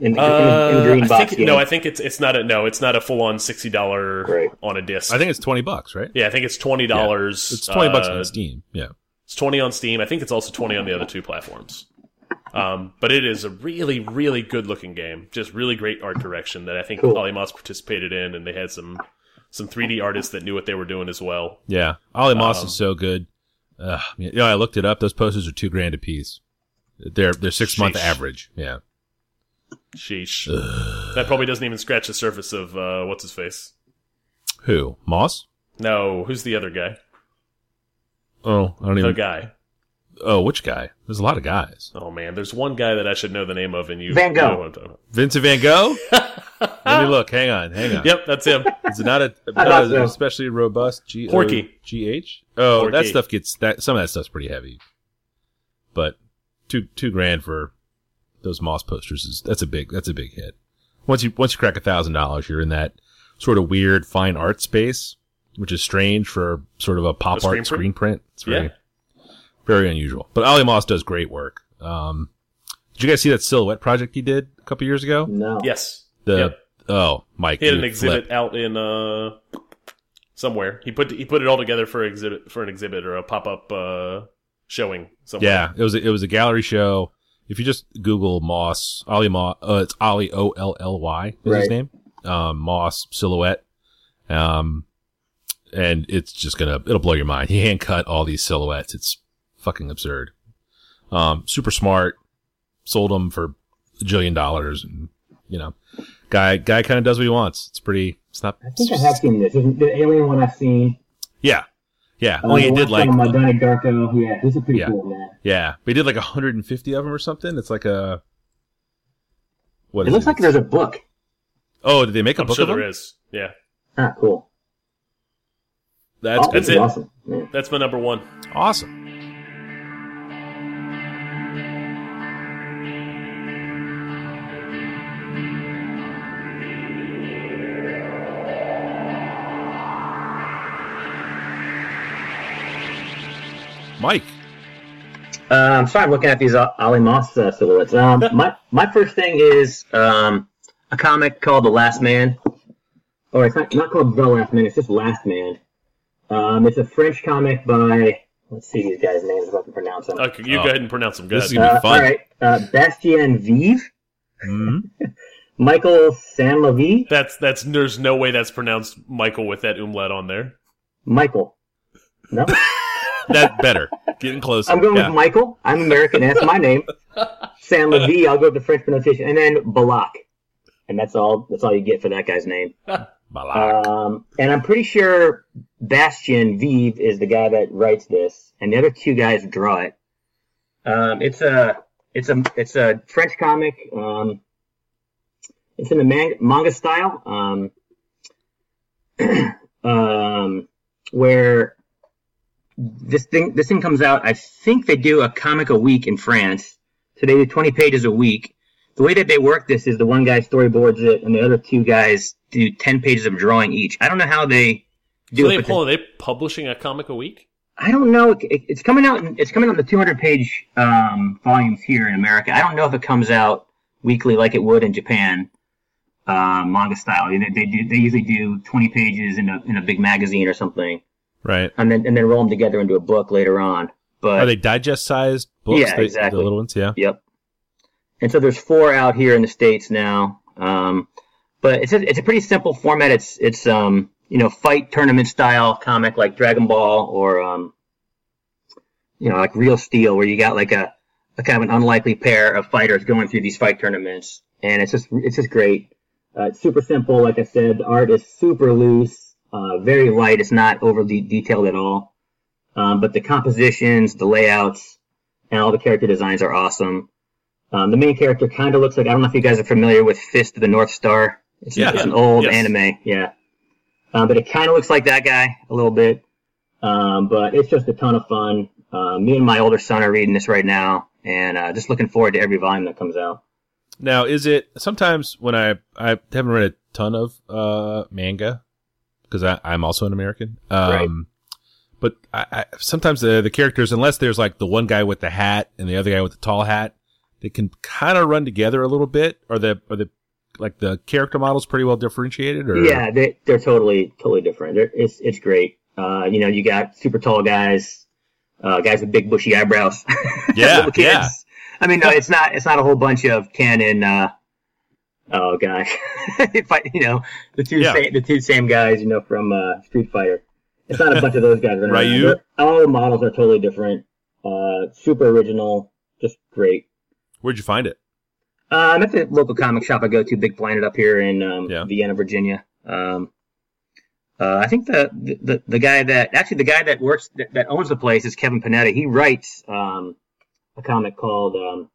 S2: In, in, in,
S1: Uh,
S2: the green box
S1: I think,
S2: game?
S1: no, I think it's it's not a no, it's not a full on sixty dollar
S2: Right.
S1: on a disc.
S3: I think it's twenty bucks, right?
S1: yeah, I think it's twenty dollars. uh,
S3: It's twenty bucks on Steam. Yeah.
S1: It's twenty on Steam. I think it's also twenty on the other two platforms. Um, but it is a really, really good looking game. Just really great art direction that I think
S2: Cool.
S1: Polymoss participated in, and they had some some 3D artists that knew what they were doing as well.
S3: Yeah. Ollie Moss
S1: Um,
S3: is so good. Uh, you know, I looked it up. Those posters are two grand a piece. They're they're six month
S1: Sheesh.
S3: average. Yeah.
S1: Sheesh. that probably doesn't even scratch the surface of uh, what's his face.
S3: Who? Moss?
S1: No, who's the other guy?
S3: Oh, I don't
S1: The
S3: even.
S1: guy.
S3: Oh, which guy? There's a lot of guys.
S1: Oh man, there's one guy that I should know the name of, and you
S2: Van
S1: you know
S2: Gogh.
S1: what I'm talking
S3: Vincent Van Gogh. Let me look. Hang on. Hang on.
S1: about. Yep, that's him.
S3: Is it not a
S2: I
S3: not
S2: thought
S3: a-
S2: so.
S3: especially robust G
S1: Porky.
S3: G H? Oh,
S1: Porky.
S3: that stuff gets that. Some of that stuff's pretty heavy. But two two grand for those Moss posters is that's a big that's a big hit. Once you once you crack a thousand dollars, you're in that sort of weird fine art space, which is strange for sort of a pop
S1: A screen
S3: art
S1: print?
S3: screen print. It's very
S1: Yeah.
S3: very unusual. But Ali Moss does great work. Um, did you guys see that silhouette project he did a couple years ago?
S2: no.
S1: yes,
S3: The
S1: Yep.
S3: oh, Mike
S1: he had
S3: you
S1: an
S3: would
S1: exhibit
S3: flip.
S1: out in uh somewhere. He put he put it all together for exhibit for an exhibit or a pop up uh showing somewhere.
S3: Yeah, it was a, it was a gallery show. If you just Google Moss, Ollie Moss, uh, it's Ollie O L L Y is his
S2: Right.
S3: name. Um, Moss silhouette, um, and it's just gonna it'll blow your mind. He hand cut all these silhouettes. It's fucking absurd. Um, super smart. Sold them for a jillion dollars, and you know, guy guy kind of does what he wants. It's pretty. It's not.
S2: I think I have seen this. Isn't the alien one I've seen?
S3: Yeah, yeah.
S2: Uh,
S1: Oh,
S3: Only
S2: the
S3: he did
S2: last one
S3: like
S2: on Donnie Darko. Yeah, this is pretty
S3: Yeah.
S2: cool, man.
S3: Yeah, we did like 150 of them or something. It's like a what
S2: It
S3: is
S2: looks like there's a book.
S3: oh, did they make a
S1: I'm
S3: book
S1: sure
S3: of them?
S1: there is. Yeah,
S2: Ah, cool.
S3: That's
S2: Oh,
S3: good.
S1: That's
S2: this is
S1: it.
S2: Awesome. Yeah.
S1: that's my number one.
S3: awesome. Mike,
S2: Uh, I'm sorry, I'm looking at these O- Ollie Moss uh, silhouettes. Um, my my first thing is um, a comic called The Last Man, or it's not, not called The Last Man. It's just Last Man. Um, it's a French comic by let's see these guys' names if I can pronounce them.
S1: Okay, you
S3: Oh.
S1: go ahead and pronounce them. Go
S3: This
S1: ahead.
S2: Uh,
S3: is gonna be fun.
S2: All right, uh, Bastien Vive,
S3: Mhm.
S2: Michael Sanlevy.
S1: That's that's there's no way that's pronounced Michael with that umlaut on there.
S2: Michael. No,
S3: That better. Getting closer.
S2: I'm going
S3: Yeah.
S2: with Michael. I'm American. and That's my name. Sam Levy. I'll go with the French pronunciation, and then Balak, and that's all. That's all you get for that guy's name.
S3: Malak.
S2: Um, and I'm pretty sure Bastian Vive is the guy that writes this, and the other two guys draw it. Um, it's a it's a it's a French comic. Um, it's in the man- manga style, um, um, where this thing this thing comes out. I think they do a comic a week in France, so they do 20 pages a week, the way that they work this is the one guy storyboards it and the other two guys do 10 pages of drawing each i don't know how they do
S1: So
S2: it
S1: they
S2: but they-
S1: pull, are they publishing a comic a week?
S2: i don't know it, it- it's coming out in- it's coming out in the 200 page um, volumes here in america i don't know if it comes out weekly like it would in japan uh, manga style You know, they, do, they usually do 20 pages in a, in a big magazine or something
S3: Right.
S2: and then and then roll them together into a book later on but
S3: Are they digest sized books?
S2: Yeah,
S3: the,
S2: exactly.
S3: The little ones, yeah.
S2: Yep. And so there's four out here in the states now. Um, but it's a, it's a pretty simple format. It's it's um you know fight tournament style comic like Dragon Ball or um you know like Real Steel where you got like a, a kind of an unlikely pair of fighters going through these fight tournaments and it's just it's just great. Uh, it's super simple, like I said. The art is super loose, uh, very light. It's not overly detailed at all. Um, but the compositions, the layouts, and all the character designs are awesome. Um, the main character kind of looks like I don't know if you guys are familiar with Fist of the North Star. It's,
S3: Yeah.
S2: it's an old
S1: Yes.
S2: anime, yeah. Um, but it kind of looks like that guy a little bit. Um, but it's just a ton of fun. Uh, me and my older son are reading this right now, and uh, just looking forward to every volume that comes out.
S3: Now, is it sometimes when I I haven't read a ton of uh manga because I I'm also an American. Um
S2: Right.
S3: But I, I, sometimes the the characters, unless there's like the one guy with the hat and the other guy with the tall hat, they can kind of run together a little bit. Or the or the like the character models pretty well differentiated. Or
S2: Yeah, they, they're totally totally different. They're, it's it's great. Uh, you know, you got super tall guys, uh, guys with big bushy eyebrows.
S3: yeah,
S2: Little
S3: yeah.
S2: kids. I mean, no, it's not. It's not a whole bunch of canon. Uh, oh gosh, if I, you know, the two
S3: Yeah.
S2: same, the two same guys, you know, from uh, Street Fighter. It's not a bunch of those guys. running around.
S3: Ryu?
S2: They're- All the models are totally different. Uh, super original, just great.
S3: Where'd you find it?
S2: Um, at the local comic shop I go to, Big Planet up here in um,
S3: Yeah.
S2: Vienna, Virginia. Um, uh, I think the, the the guy that actually the guy that works that, that owns the place is Kevin Panetta. He writes um, a comic called um,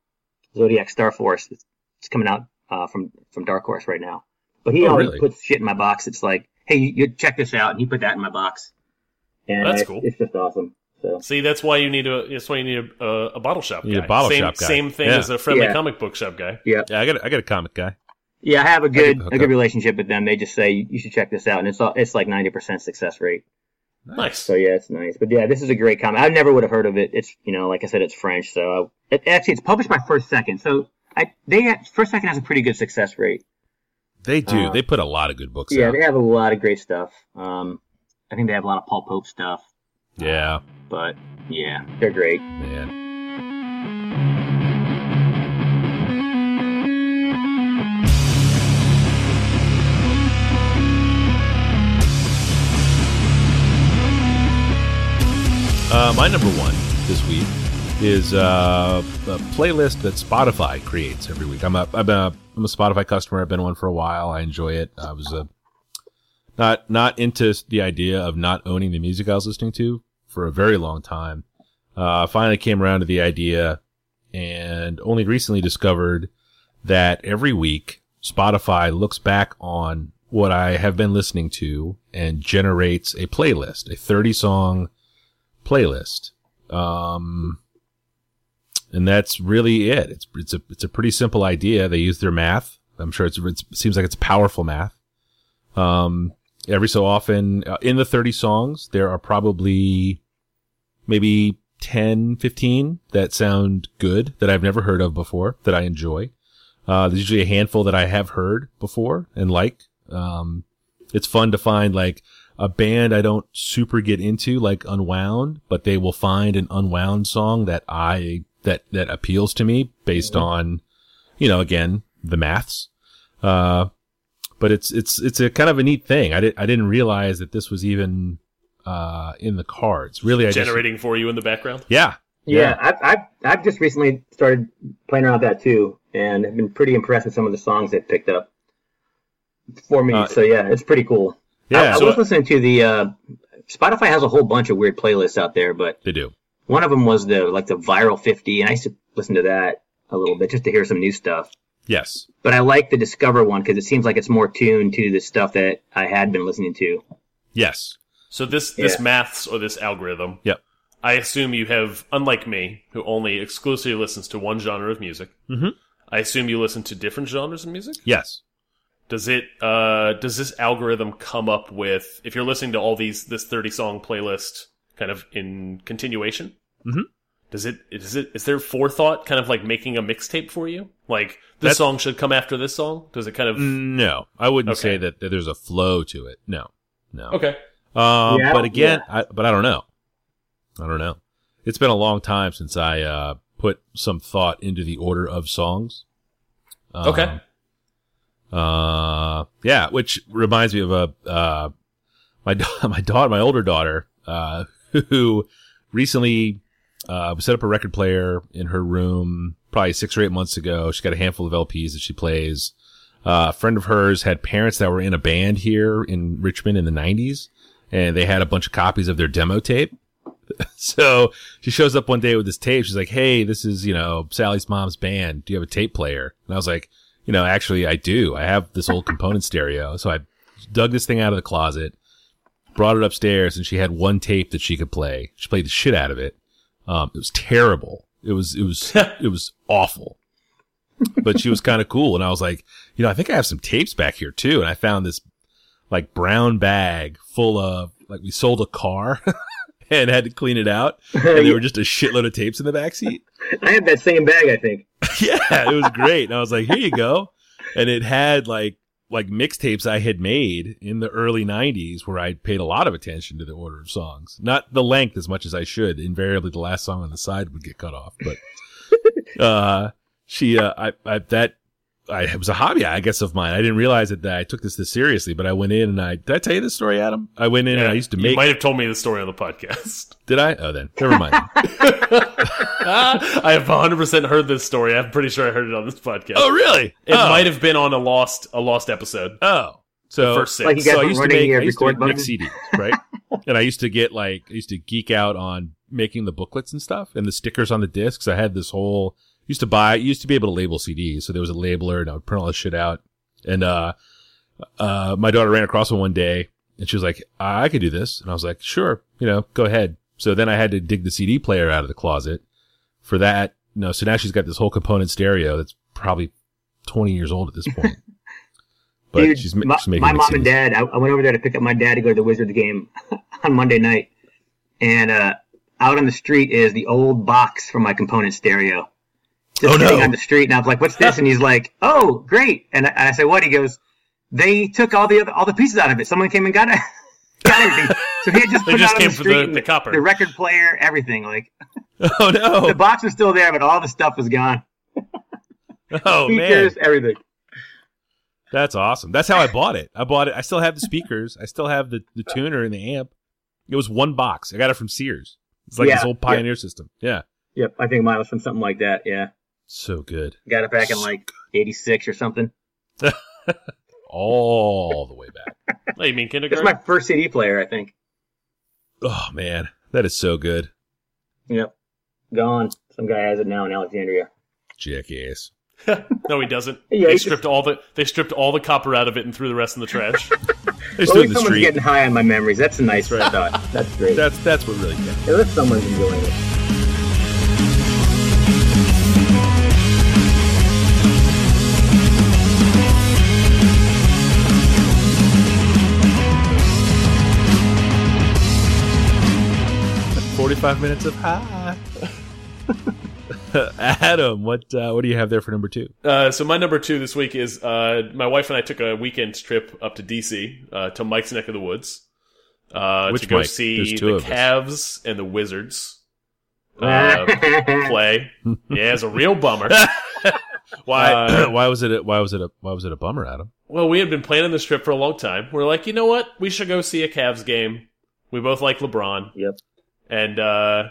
S2: Zodiac Star Force. It's, it's coming out uh, from from Dark Horse right now. But he
S3: Oh,
S2: always
S3: really?
S2: puts shit in my box. It's like, hey, you, you check this out, and he put that in my box. And
S1: That's
S2: it's-
S1: cool.
S2: It's just awesome. So
S1: See, that's why you need a that's why you need a, a, a bottle shop
S3: You need
S1: guy.
S3: a bottle
S1: same,
S3: shop guy.
S1: Same thing
S3: Yeah.
S1: as a friendly
S2: Yeah.
S1: comic book shop guy.
S3: Yeah, I got a, I got a comic guy.
S2: yeah, I have a good
S3: the
S2: a
S3: hookup.
S2: good relationship with them. They just say you you should check this out, and it's all, it's like ninety percent success rate.
S1: Nice.
S2: So yeah, it's nice. But yeah, this is a great comic. I never would have heard of it. It's you know, like I said, it's French. So I, it, actually, it's published by First Second. So I they ha- First Second has a pretty good success rate.
S3: They do.
S2: Uh,
S3: they put a lot of good books
S2: Yeah,
S3: out.
S2: they have a lot of great stuff. Um, I think they have a lot of Paul Pope stuff.
S3: Yeah,
S2: But yeah, they're great.
S3: man. Uh, my number one this week is uh, a playlist that Spotify creates every week. I'm a, I'm a I'm a Spotify customer. I've been one for a while. I enjoy it. I was uh, not not into the idea of not owning the music I was listening to for a very long time. Uh, finally came around to the idea, and only recently discovered that every week Spotify looks back on what I have been listening to and generates a playlist, a 30 song playlist. Um, and that's really it. It's, it's a, it's a pretty simple idea. They use their math. I'm sure it's, it's it seems like it's powerful math. Um, every so often uh, in the 30 songs, there are probably maybe 10, 15 that sound good that I've never heard of before that I enjoy. Uh, there's usually a handful that I have heard before and like. Um, it's fun to find like a band I don't super get into, like Unwound, but they will find an Unwound song that I, that, that appeals to me based on, you know, again, the maths. Uh, but it's, it's, it's a kind of a neat thing. I didn't, I didn't realize that this was even, uh, uh, in the cards. Really, I just
S1: generating for you in the background.
S3: yeah,
S2: Yeah,
S3: Yeah.
S2: I've, I've I've just recently started playing around with that too, and have been pretty impressed with some of the songs they've picked up for me.
S3: Uh,
S2: so yeah, it's pretty cool. I,
S3: yeah.
S2: I
S1: so-
S2: was listening to the uh, Spotify has a whole bunch of weird playlists out there, but
S3: they do.
S2: one of them was the like the viral fifty, and I used to listen to that a little bit just to hear some new stuff.
S3: Yes.
S2: But I like the Discover one because it seems like it's more tuned to the stuff that I had been listening to.
S3: Yes.
S1: So this this
S2: Yeah.
S1: maths or this algorithm.
S3: Yep.
S1: I assume you have, unlike me, who only exclusively listens to one genre of music.
S3: Mhm.
S1: I assume you listen to different genres of music.
S3: Yes.
S1: Does it? Uh, does this algorithm come up with if you're listening to all these this thirty song playlist kind of in continuation?
S3: Mhm.
S1: Does it? Is it? Is there forethought kind of like making a mixtape for you? Like this
S3: That's- Mm.
S1: song should come after this song. Does it kind of?
S3: No, I wouldn't
S1: Okay.
S3: say that, that there's a flow to it. No. No.
S1: Okay.
S3: Um,
S2: Yeah, I
S3: but
S2: don't-
S3: again, I, but I don't know. I don't know. It's been a long time since I uh, put some thought into the order of songs. Um,
S1: Okay.
S3: Uh, yeah, which reminds me of a uh, my da- my daughter, my older daughter, uh, who recently uh, set up a record player in her room, probably six or eight months ago. She's got a handful of LPs that she plays. Uh, a friend of hers had parents that were in a band here in Richmond in the '90s, and they had a bunch of copies of their demo tape. so she shows up one day with this tape. She's like, "Hey, this is you know Sally's mom's band. Do you have a tape player?" And I was like, "You know, actually, I do. I have this old component stereo." So I dug this thing out of the closet, brought it upstairs, and she had one tape that she could play. She played the shit out of it. Um, it was terrible. It was it was it was awful. But she was kind of cool, and I was like, you know, I think I have some tapes back here too. And I found this like brown bag full of like we sold a car and had to clean it out, and there were just a shitload of tapes in the back seat.
S2: I had that same bag, I think.
S3: yeah, it was great. And I was like, here you go. And it had like like mixtapes I had made in the early '90s where I paid a lot of attention to the order of songs, not the length as much as I should. Invariably, the last song on the side would get cut off, but uh, she, uh, I, I, that, I, it was a hobby, I guess, of mine. I didn't realize it that I took this this seriously, but I went in and I, did I tell you this story, Adam? I went in and I used to
S1: You
S3: make,
S1: might have told me the story on the podcast.
S3: did I? Oh, then, never mind.
S1: I have 100% heard this story. I'm pretty sure I heard it on this podcast.
S3: oh, really?
S1: It
S3: oh.
S1: might have been on a lost a lost episode.
S3: Oh, so
S1: First six.
S2: Like you guys
S3: so I
S2: were
S3: used to
S2: running
S3: make,
S2: your
S3: I used to
S2: record
S3: make
S2: button?
S3: CDs, right? and I used to get like, I used to geek out on making the booklets and stuff and the stickers on the discs. I had this whole, used to buy, used to be able to label CDs. So there was a labeler and I would print all this shit out. And, uh, uh, my daughter ran across one one day and she was like, I, I could do this. And I was like, sure, you know, go ahead. So then I had to dig the CD player out of the closet for that. No, so now she's got this whole component stereo that's probably 20 years old at this point. But
S2: Dude,
S3: she's, ma-
S2: my,
S3: she's making
S2: my
S3: it
S2: mom
S3: seem-
S2: and dad. I, I went over there to pick up my dad to go to the Wizards game on Monday night, and uh, out on the street is the old box from my component stereo. Just
S3: Oh, no.
S2: sitting on the street, and I was like, "What's this?" and he's like, "Oh, great!" And I, and I said, "What?" He goes, "They took all the other, all the pieces out of it. Someone came and got it." Got everything. So he had just
S1: They
S2: put it
S1: just
S2: out on
S1: came
S2: the
S1: for
S2: street
S1: the-
S2: and
S1: the copper.
S2: the record player, everything. Like
S3: Oh
S2: the
S3: no!
S2: box was still there, but all the stuff was gone.
S3: Oh man,
S2: Speakers, everything.
S3: that's awesome. That's how I bought it. I bought it. I still have the speakers. I still have the, the tuner and the amp. It was one box. I got it from Sears. It's like this
S2: Yeah,
S3: old
S2: yeah.
S3: Pioneer system. Yeah,
S2: Yep, I think mine was from something like that. Yeah,
S3: so good.
S2: got it back in like '86 or something.
S3: All the way back.
S1: Oh, you mean
S2: It's
S1: kindergarten?
S2: my first CD player, I think.
S3: Oh man, that is so good.
S2: Yep. Gone. Some guy has it now in Alexandria.
S3: Jackass.
S1: no, he doesn't.
S2: Yeah,
S1: they
S2: he
S1: stripped all the they stripped all the copper out of it and threw the rest in the trash.
S3: They
S2: At
S3: stood in
S2: least
S3: the
S2: someone's
S3: street.
S2: getting high on my memories. That's a nice thought. That's great.
S3: that's that's what really counts.
S2: At least someone's enjoying it.
S3: Forty-five minutes of high. Adam, what uh, what do you have there for number two?
S1: uh, so my number two this week is uh, my wife and I took a weekend trip up to DC uh, to Mike's neck of the woods uh,
S3: Which
S1: to go
S3: Mike?
S1: see
S3: There's two
S1: the
S3: of us.
S1: Cavs and the Wizards uh, play. Yeah, it's a real bummer.
S3: Why
S1: Uh,
S3: why was it a, why was it a why was it a bummer, Adam?
S1: Well, we had been planning this trip for a long time. We're like, you know what? We should go see a Cavs game. We both like LeBron.
S2: Yep.
S1: And uh,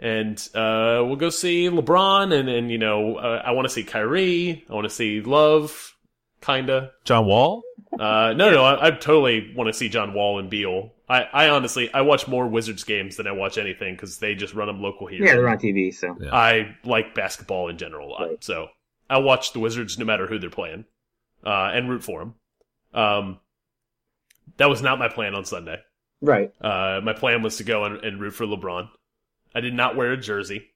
S1: and uh, we'll go see LeBron, and and you know, uh, I want to see Kyrie. I want to see Love, kinda.
S3: John Wall?
S1: Uh, no, no, I, I totally want to see John Wall and Beal. I, I honestly, I watch more Wizards games than I watch anything because they just run them local here.
S4: Yeah, they're on TV, so
S3: Yeah.
S1: I like basketball in general a lot,
S2: Right.
S1: so I watch the Wizards no matter who they're playing, uh, and root for them. Um, that was not my plan on Sunday.
S2: Right.
S1: Uh, my plan was to go and, and root for LeBron. I did not wear a jersey.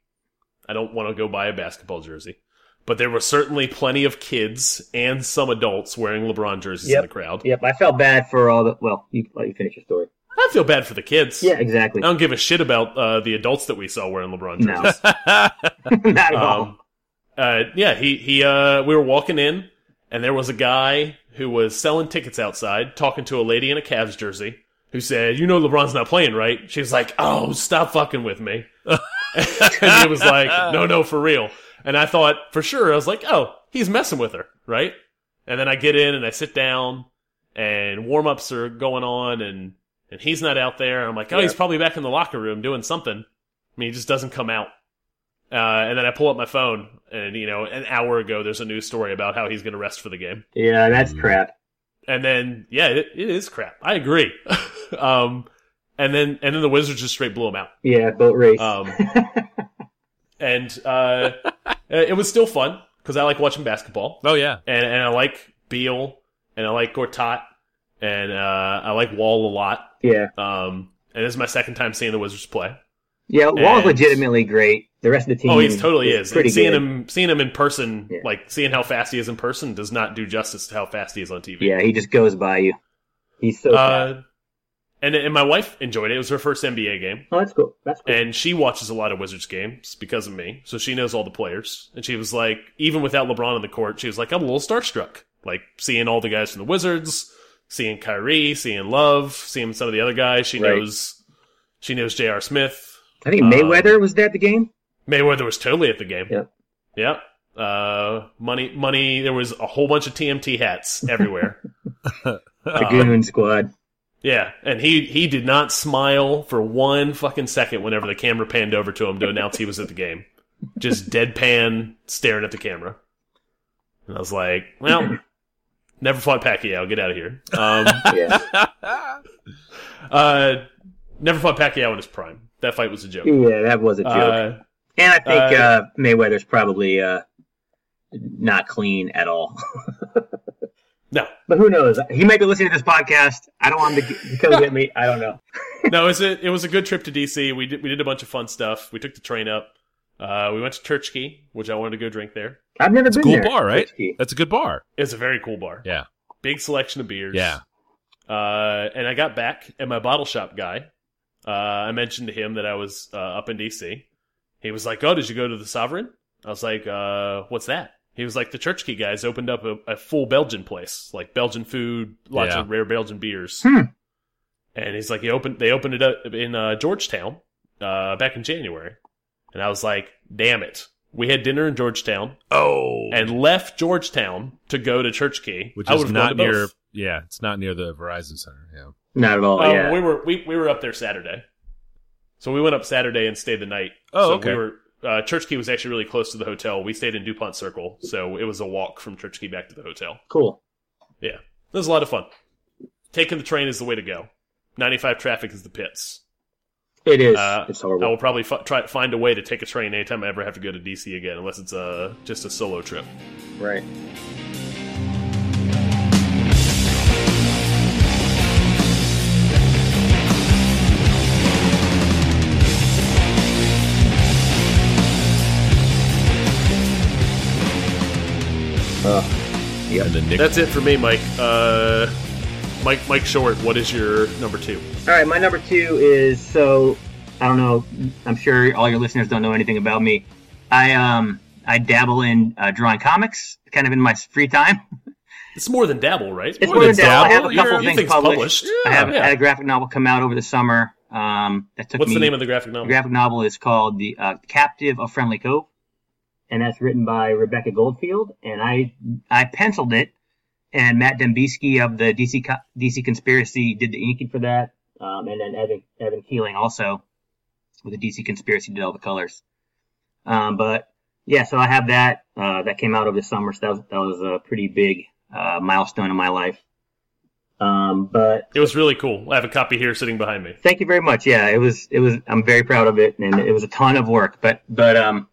S1: I don't want to go buy a basketball jersey, but there were certainly plenty of kids and some adults wearing LeBron jerseys in
S2: Yep.
S1: the crowd.
S2: Yep. I felt bad for all the. Well, you let you finish your story.
S1: I feel bad for the kids.
S2: Yeah,
S1: I
S2: exactly.
S1: don't give a shit about uh, the adults that we saw wearing LeBron
S2: No.
S1: jerseys.
S3: Oh,
S2: Not at all.
S1: um, uh, yeah, he he. Uh, we were walking in, and there was a guy who was selling tickets outside, talking to a lady in a Cavs jersey, who said, "You know LeBron's not playing, right?" She was like, "Oh, stop fucking with me," and he was like, "No, no, for real." And I thought for sure, I was like, "Oh, he's messing with her, right?" And then I get in and I sit down, and warm ups are going on, and and he's not out there. I'm like, "Oh, he's probably back in the locker room doing something." I mean, he just doesn't come out. Uh, and then I pull up my phone, and you know, an hour ago, there's a news story about how he's going to rest for the game.
S2: Yeah, that's
S3: Mm.
S2: crap.
S1: And then, yeah, it, it is crap. I agree. um, and then, and then the Wizards just straight blew him out.
S2: Yeah, boat race.
S1: Um, and uh, it was still fun because I like watching basketball,
S3: oh yeah.
S1: and and I like Beal, and I like Gortat, and uh, I like Wall a lot.
S2: yeah.
S1: Um, and this is my second time seeing the Wizards play.
S2: Yeah, Wall's
S1: and-
S2: legitimately great. The rest of the team.
S1: Oh, he's totally is.
S2: Pretty
S1: And seeing
S2: good.
S1: him, seeing him in person,
S2: Yeah.
S1: like seeing how fast he is in person, does not do justice to how fast he is on TV.
S2: Yeah, he just goes by you. He's so. fast.
S1: Uh, and and my wife enjoyed it. It was her first NBA game,
S2: oh, that's cool. That's cool.
S1: and she watches a lot of Wizards games because of me, so she knows all the players. And she was like, even without LeBron on the court, she was like, I'm a little starstruck, like seeing all the guys from the Wizards, seeing Kyrie, seeing Love, seeing some of the other guys. She
S2: Right.
S1: knows, she knows J.R. Smith.
S2: I think
S1: um,
S2: Mayweather was there at the game.
S1: Mayweather was totally at the game.
S2: Yep.
S1: Yep. Uh, money, money. There was a whole bunch of TMT hats everywhere.
S2: The
S1: Uh,
S2: Goon Squad.
S1: yeah, and he he did not smile for one fucking second whenever the camera panned over to him to announce he was at the game. Just deadpan staring at the camera. And I was like, well, never fought Pacquiao. Get out of here. Um,
S2: Yeah.
S1: uh, never fought Pacquiao in his prime. That fight was a joke.
S2: yeah, that was a joke.
S1: Uh,
S2: and I think
S1: uh,
S2: uh, Mayweather's probably uh, not clean at all.
S1: no,
S2: But who knows? He might be listening to this podcast. I don't want him to g- come get me. I don't know.
S1: no, it was a it was a good trip to DC. We did we did a bunch of fun stuff. We took the train up. Uh, we went to Turkey, which I wanted to go drink there.
S2: I've never
S3: It's a
S2: been
S3: cool
S2: there.
S3: bar, right?
S2: Turkey.
S3: That's a good bar.
S1: It's a very cool bar.
S3: Yeah.
S1: big selection of beers.
S3: Yeah.
S1: Uh, and I got back, and my bottle shop guy, uh, I mentioned to him that I was uh, up in DC. He was like, "Oh, did you go to the Sovereign?" I was like, uh, "What's that?" He was like, "The Church Key guys opened up a, a full Belgian place, like Belgian food, lots
S3: Yeah.
S1: of rare Belgian beers."
S2: Hmm.
S1: And he's like, "He opened they opened it up in uh, Georgetown uh, back in January," and I was like, "Damn it." We had dinner in Georgetown
S3: Oh. And
S1: and left Georgetown to go to Church Key,
S3: which
S1: I
S3: is
S1: would've gone
S3: not
S1: to both.
S3: near yeah, it's not near the Verizon Center. Yeah.
S2: Not at all.
S1: Oh,
S2: yeah.
S1: we were we, we were up there Saturday, so we went up Saturday and stayed the night.
S3: Oh,
S1: so
S3: okay.
S1: We were, uh, Church Key was actually really close to the hotel. We stayed in Dupont Circle, so it was a walk from Church Key back to the hotel.
S2: Cool.
S1: It was a lot of fun. Taking the train is the way to go. Ninety-five traffic is the pits.
S2: It is.
S1: Uh,
S2: it's
S1: I
S2: horrible.
S1: will probably f try find a way to take a train anytime I ever have to go to DC again, unless it's uh, just a solo trip.
S2: Right.
S3: And the Knicks.
S1: That's it for me, Mike. Uh, Mike Mike Short, what is your number two?
S2: All right, my number two is so I don't know. I'm sure all your listeners don't know anything about me. I um I dabble in uh, drawing comics, kind of in my free time.
S1: It's more than dabble, right?
S2: It's
S3: More
S2: more
S3: than
S2: than dabble. I have
S3: dabble,
S2: a couple
S3: you're-
S2: things,
S1: Things
S2: published.
S1: published.
S2: I have
S1: Oh, Yeah.
S2: had a graphic novel come out over the summer. Um, that took
S1: What's
S2: me.
S1: the name of the graphic
S2: The
S1: novel?
S2: graphic novel is called The uh, Captive of Friendly Cove, and that's written by Rebecca Goldfield. And I I penciled it, and Matt Dembski of the DC Co- DC Conspiracy did the inking for that. um, and then Evan Evan Keeling also with the DC Conspiracy did all the colors. Um, but yeah, so I have that. Uh, that came out over the summer, so that was, that was a pretty big uh, milestone in my life. Um, but
S1: It was really cool. I have a copy here sitting behind me.
S2: thank you very much. Yeah, it was it was I'm very proud of it, and it was a ton of work. But but um,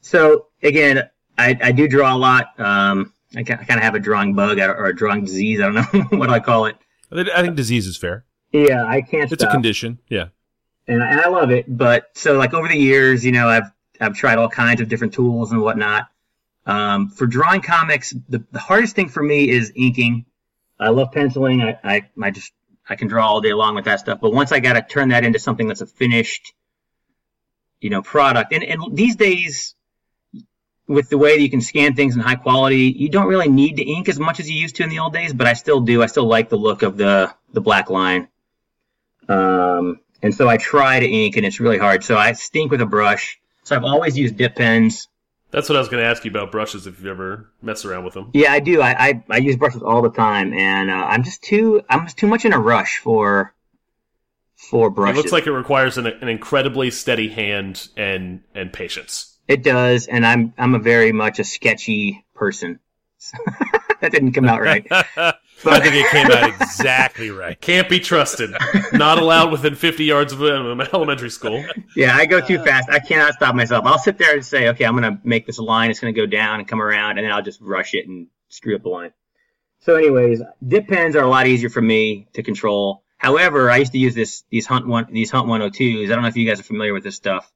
S2: so again, I I do draw a lot. Um, I kind of have a drawing bug I don't- or a drawing disease. I don't know what I call it.
S3: I think- I think disease is fair.
S2: Yeah, I can't. uh,
S3: It's a
S2: stop.
S3: condition. Yeah.
S2: and I, and I love it. But so like over the years, you know, I've I've tried all kinds of different tools and whatnot. Um, for drawing comics, the, the hardest thing for me is inking. I love penciling. I, I I just I can draw all day long with that stuff. But once I got to turn that into something that's a finished, you know, product. And and these days, with the way that you can scan things in high quality, you don't really need to ink as much as you used to in the old days. But I still do. I still like the look of the the black line. Um, and so I try to ink, and it's really hard. So I stink with a brush. So I've always used dip pens.
S1: That's what I was going to ask you about brushes if you ever mess around with them.
S2: Yeah, I do. I, I, I use brushes all the time, and uh, I'm just too I'm just too much in a rush for for
S1: It
S2: brushes.
S1: looks like it requires an, an incredibly steady hand and and patience.
S2: it does, and I'm I'm a very much a sketchy person. that didn't come out right.
S3: I
S2: But
S3: think it came out exactly right.
S1: Can't be trusted. Not allowed within 50 yards of an elementary school.
S2: Yeah, I go too fast. I cannot stop myself. I'll sit there and say, okay, I'm going to make this a line. It's going to go down and come around, and then I'll just rush it and screw up the line. So, anyways, dip pens are a lot easier for me to control. However, I used to use this these hunt one these hunt 102s. I don't know if you guys are familiar with this stuff,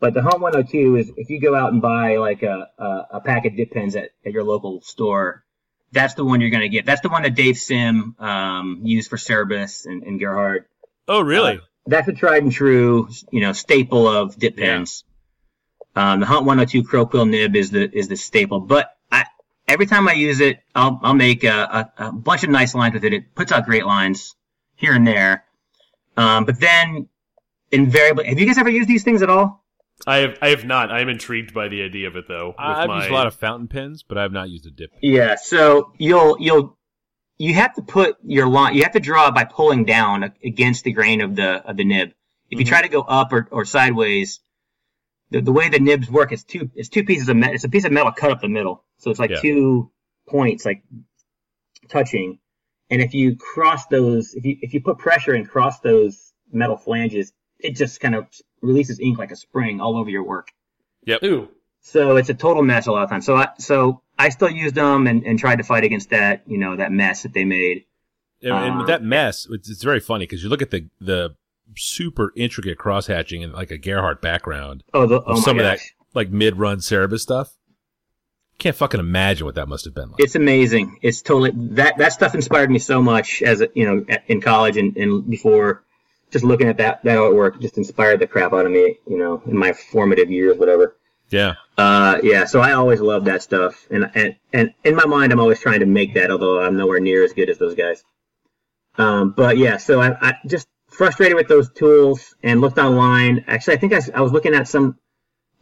S2: but the hunt 102 is if you go out and buy like a a, a pack of dip pens at, at your local store, that's the one you're going to get. That's the one that Dave Sim um, used for Cerebus and, and Gerhard
S3: Oh, really?
S2: Uh, that's a tried and true, you know, staple of dip
S3: Yeah.
S2: pens. Um, the Hunt 102 crow quill nib is the is the staple, but I every time I use it, I'll I'll make a, a, a bunch of nice lines with it. It puts out great lines here and there, um, but then invariably, have you guys ever used these things at all?
S1: I have I have not. I am intrigued by the idea of it though. with
S3: I've
S1: my-
S3: used a lot of fountain pens, but I've not used a dip.
S2: Yeah, so you'll you'll you have to put your line you have to draw by pulling down a- against the grain of the of the nib. If you
S1: Mhm.
S2: try to go up or, or sideways, the, the way the nibs work is two it's two pieces of metal it's a piece of metal cut up the middle. So it's like
S3: Yeah.
S2: two points like touching. And if you cross those if you if you put pressure and cross those metal flanges, it just kind of releases ink like a spring all over your work.
S1: Ooh.
S2: So it's a total mess a lot of times. So I, so I still used them and, and tried to fight against that, you know, that mess that they made.
S3: And, and with
S2: Uh,
S3: that mess, it's, it's very funny because you look at the the super intricate crosshatching and like a Gerhardt background,
S2: Oh, the,
S3: Well,
S2: oh my
S3: some of that-
S2: gosh.
S3: like mid run Cerebus stuff. Can't fucking imagine what that must have been like.
S2: It's amazing. It's totally that that stuff inspired me so much as a, you know a- in college and, and before. Just looking at that that artwork just inspired the crap out of me, you know, in my formative years, whatever.
S3: yeah.
S2: Uh, yeah. So I always loved that stuff, and and and in my mind, I'm always trying to make that, although I'm nowhere near as good as those guys. Um, but yeah, so I, I just frustrated with those tools and looked online. Actually, I think I, s- I was looking at some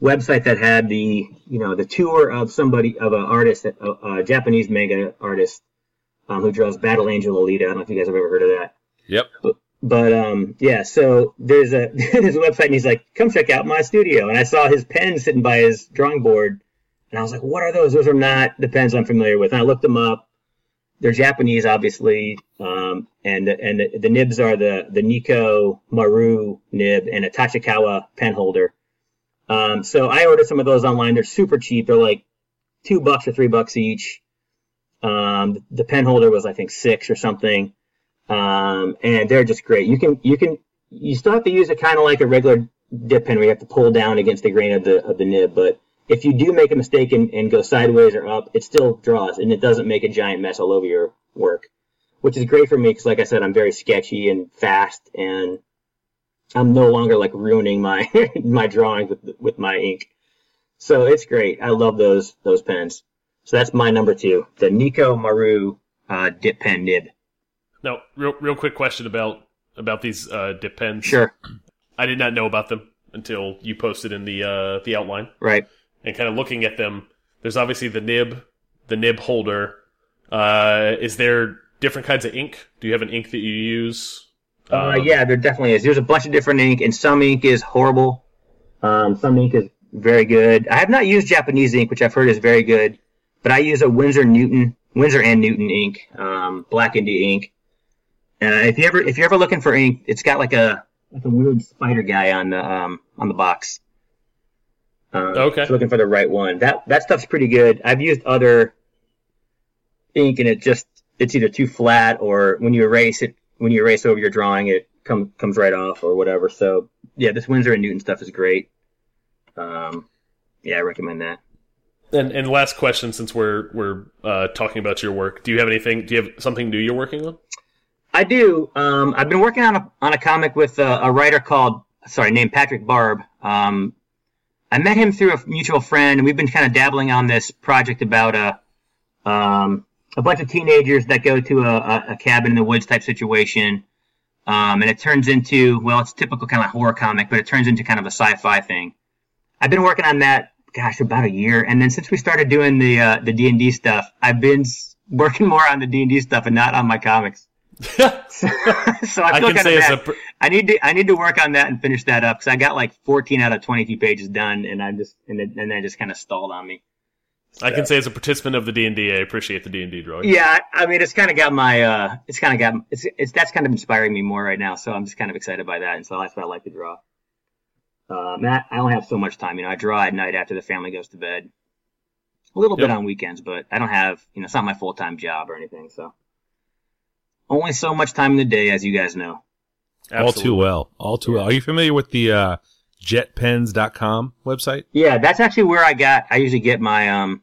S2: website that had the you know the tour of somebody of an artist, a, a Japanese manga artist um, who draws Battle Angel Alita. I don't know if you guys have ever heard of that.
S3: Yep.
S2: But um, yeah, so there's a there's a website, and he's like, "Come check out my studio." And I saw his pen sitting by his drawing board, and I was like, "What are those? Those are not the pens I'm familiar with." And I looked them up. They're Japanese, obviously, um, and and the, the nibs are the the Nikko Maru nib and a Tachikawa pen holder. Um, so I ordered some of those online. They're super cheap. They're like two bucks or three bucks each. Um, the pen holder was I think six or something um, and they're just great. You can you can you still have to use it kind of like a regular dip pen where you have to pull down against the grain of the of the nib, but if you do make a mistake and, and go sideways or up, it still draws and it doesn't make a giant mess all over your work, which is great for me because, like I said, I'm very sketchy and fast, and I'm no longer like ruining my my drawings with with my ink. So it's great. I love those those pens. So that's my number two, the Nico Maru uh, dip pen nib.
S1: Now, real real quick question about about these uh, dip pens.
S2: Sure,
S1: I did not know about them until you posted in the uh, the outline
S2: right.
S1: and kind of looking at them. There's obviously the nib, the nib holder. Uh, is there different kinds of ink? Do you have an ink that you use
S2: Uh,
S1: Um,
S2: yeah, there definitely is. There's a bunch of different ink, and some ink is horrible. Um, some ink is very good. I have not used Japanese ink, which I've heard is very good, but I use a Windsor Newton, Windsor and Newton ink, um, black India ink. And uh, if you ever if you're ever looking for ink, it's got like a like a weird spider guy on the um, on the box. Um,
S1: Okay.
S2: just looking for the right one. That that stuff's pretty good. I've used other ink, and it just it's either too flat or when you erase it when you erase over your drawing, it comes comes right off or whatever. So yeah, this Windsor and Newton stuff is great. Um, yeah, I recommend that.
S1: And and last question, since we're we're uh, talking about your work, do you have anything? Do you have something new you're working on?
S2: I do. Um, I've been working on a on a comic with uh, a, a writer called sorry named Patrick Barb. Um, I met him through a mutual friend, and we've been kind of dabbling on this project about a um, a bunch of teenagers that go to a, a, a cabin in the woods type situation, um, and it turns into well, it's typical kind of horror comic, but it turns into kind of a sci-fi thing. I've been working on that, gosh, about a year, and then since we started doing the uh, the D and D stuff, I've been s- working more on the D and D stuff and not on my comics. so I feel
S1: I can
S2: kind
S1: say
S2: of
S1: as a
S2: bad.
S1: per-
S2: I need to I need to work on that and finish that up because I got like 14 out of 22 pages done and I just and then and that just kind of stalled on me.
S1: I can say as a participant of the D and D, I appreciate the D and D drawing.
S2: Yeah, I, I mean it's kind of got my uh it's kind of got it's it's that's kind of inspiring me more right now. So I'm just kind of excited by that and so that's what I like to draw. Uh, Matt, I only have so much time. You know, I draw at night after the family goes to bed. A little bit
S1: Yep.
S2: on weekends, but I don't have you know it's not my full time job or anything. So only so much time in the day, as you guys know.
S3: All too
S1: Absolutely.
S3: well. All too well. Are you familiar with the uh, jetpens.com website?
S2: Yeah, that's actually where I got. I usually get my um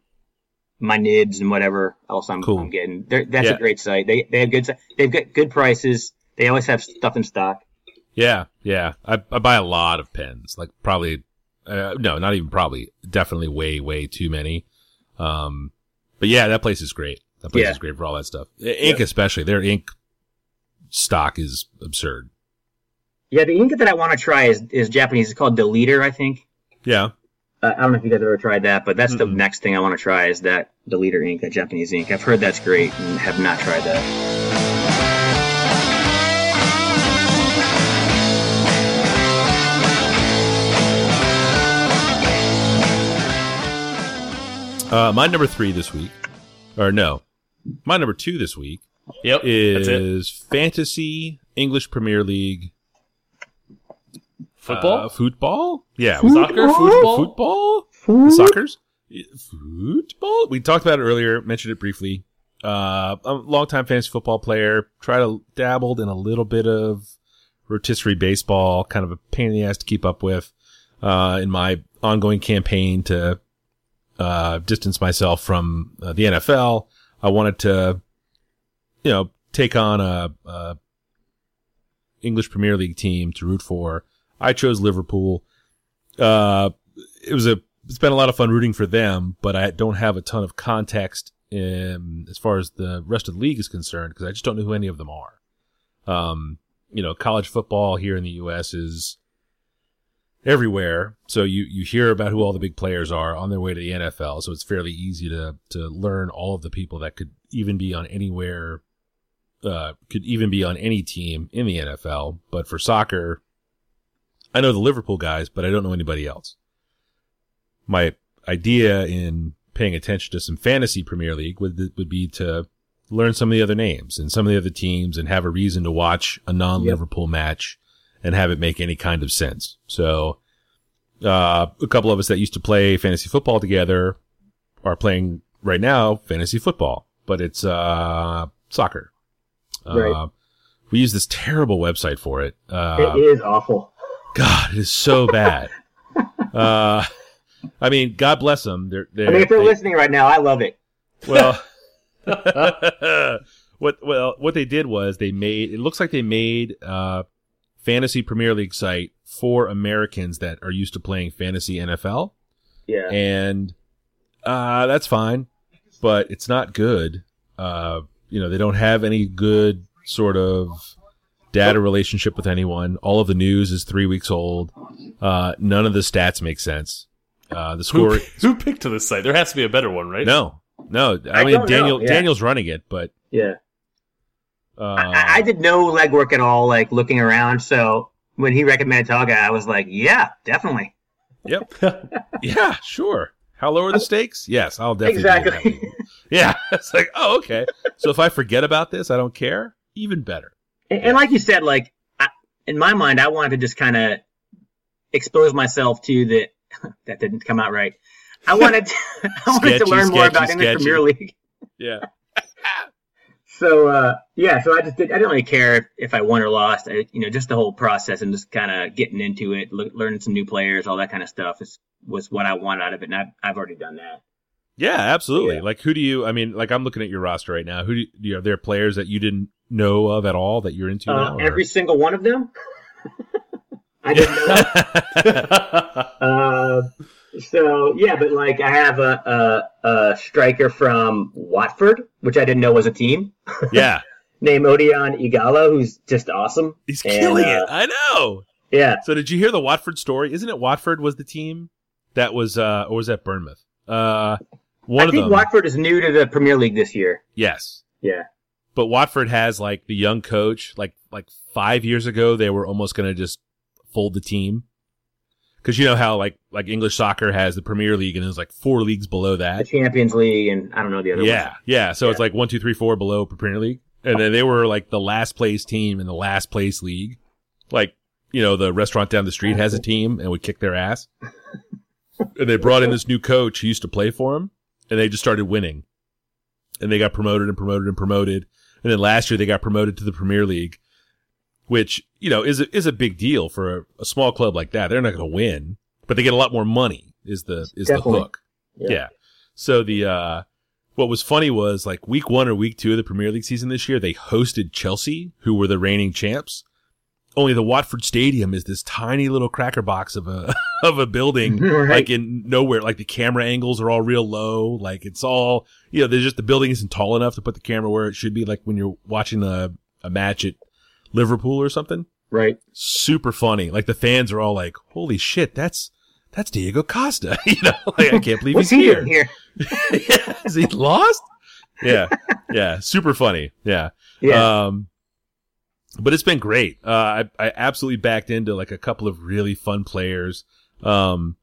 S2: my nibs and whatever else I'm,
S3: Cool.
S2: I'm getting. They're, that's
S3: Yeah.
S2: a great site. They they have good si- they've got good prices. They always have stuff in stock.
S3: Yeah, yeah. I, I buy a lot of pens. Like probably, uh, no, not even probably. Definitely way, way too many. Um, but yeah, that place is great. That place
S2: Yeah.
S3: is great for all that stuff. I- Ink especially. Their ink stock is absurd.
S2: Yeah, the ink that I want to try is is Japanese. It's called Deleter, I think.
S3: Yeah.
S2: Uh, I don't know if you guys ever tried that, but that's the
S1: Mm-mm.
S2: next thing I want to try is that Deleter ink, that Japanese ink. I've heard that's great and have not tried that.
S3: Uh, my number three this week, or no, my number two this week
S1: Yep. That's it.
S3: is uh, fantasy English Premier League
S1: Football.
S3: uh, football. Yeah,
S1: Soccer, football?
S3: football, The soccer's football. We talked about it earlier, mentioned it briefly. Uh, I'm a longtime fantasy football player. Try to dabbled in a little bit of rotisserie baseball, kind of a pain in the ass to keep up with. Uh, in my ongoing campaign to uh, distance myself from uh, the NFL, I wanted to, you know, take on a, a English Premier League team to root for. I chose Liverpool uh, it was a it's been a lot of fun rooting for them, but I don't have a ton of context in, as far as the rest of the league is concerned because I just don't know who any of them are. Um, you know, college football here in the U.S. is everywhere, so you you hear about who all the big players are on their way to the NFL, so it's fairly easy to to learn all of the people that could even be on anywhere. Uh, could even be on any team in the NFL, but for soccer, I know the Liverpool guys, but I don't know anybody else. My idea in paying attention to some fantasy Premier League would, would be to learn some of the other names and some of the other teams and have a reason to watch a non-Liverpool match and have it make any kind of sense. So, uh, a couple of us that used to play fantasy football together are playing right now fantasy football, but it's, uh, soccer. Uh,
S2: Right.
S3: we use this terrible website for it. Uh,
S2: it is awful.
S3: God, it is so bad. uh, I mean, God bless them. They're, they're
S2: I mean, if they're
S3: they-
S2: listening right now, I love it.
S3: well. what well what they did was they made it looks like they made uh fantasy Premier League site for Americans that are used to playing fantasy NFL
S2: Yeah.
S3: and uh, that's fine, but it's not good. Uh, you know, they don't have any good sort of data relationship with anyone. All of the news is three weeks old. Uh, none of the stats make sense. Uh, the
S1: Who,
S3: score.
S1: who picked this site? There has to be a better one, right?
S3: No, no. I,
S2: I
S3: mean,
S2: don't know,
S3: Daniel
S2: yeah.
S3: Daniel's running it, but
S2: yeah.
S3: Uh,
S2: I, I did no legwork at all, like looking around. So when he recommended Toga, I was like, yeah, definitely.
S3: yep. yeah, sure. How low are the stakes? Yes, I'll definitely. do that.
S2: exactly.
S3: Yeah. It's like, oh, okay. So if I forget about this, I don't care. Even better.
S2: And, and like you said, like I, in my mind, I wanted to just kind of expose myself to the that didn't come out right. I wanted to, I wanted to
S3: Sketchy,
S2: learn more
S3: sketchy,
S2: about English
S3: sketchy.
S2: Premier League.
S3: Yeah.
S2: So uh, yeah, so I just did, I didn't really care if, if I won or lost. I, you know, just the whole process and just kind of getting into it, le- learning some new players, all that kind of stuff is was what I wanted out of it, and I've, I've already done that.
S3: Yeah, absolutely.
S2: Yeah.
S3: Like, who do you? I mean, like, I'm looking at your roster right now. Who do you, do you- are there players that you didn't know of at all that you're into
S2: Uh,
S3: now? or-
S2: every single one of them. I didn't know. Uh, so yeah, but like I have a, a a striker from Watford, which I didn't know was a team,
S3: yeah,
S2: named Odion Igalo, who's just awesome.
S3: he's
S2: And,
S3: killing
S2: uh,
S3: it. I know.
S2: Yeah,
S3: So, did you hear the Watford story? Isn't it Watford was the team that was, uh or was that Bournemouth? Uh, one
S2: I
S3: of
S2: think
S3: them.
S2: Watford is new to the Premier League this year.
S3: yes.
S2: Yeah,
S3: but Watford has like the young coach. Like like five years ago, they were almost going to just fold the team because you know how like like English soccer has the Premier League and there's like four leagues below
S2: the
S3: that.
S2: Champions League, and I don't know the other.
S3: Yeah,
S2: ones.
S3: yeah. So it's like one, two, three, four below Premier League, and then they were like the last place team in the last place league. Like you know, the restaurant down the street has a team and would kick their ass. and they brought in this new coach who used to play for him, and they just started winning. And they got promoted and promoted and promoted. And then last year they got promoted to the Premier League, which you know is a, is a big deal for a, a small club like that. They're not going to win, but they get a lot more money. Is the is
S2: Definitely.
S3: the hook?
S2: Yeah.
S3: yeah. So the uh, what was funny was like week one or week two of the Premier League season this year, they hosted Chelsea, who were the reigning champs. Only the Watford Stadium is this tiny little cracker box of a of a building,
S2: Right.
S3: like in nowhere. Like the camera angles are all real low. Like it's all you know. There's just the building isn't tall enough to put the camera where it should be. Like when you're watching a a match at Liverpool or something
S2: right.
S3: super funny. Like the fans are all like, "Holy shit, that's that's Diego Costa!" you know, like I can't believe
S2: What's
S3: he's
S2: he
S3: here.
S2: doing here?
S3: yeah. Is he lost? Yeah, yeah, super funny. Yeah.
S2: Yeah,
S3: Um, but it's been great. Uh, I I absolutely backed into like a couple of really fun players. Um,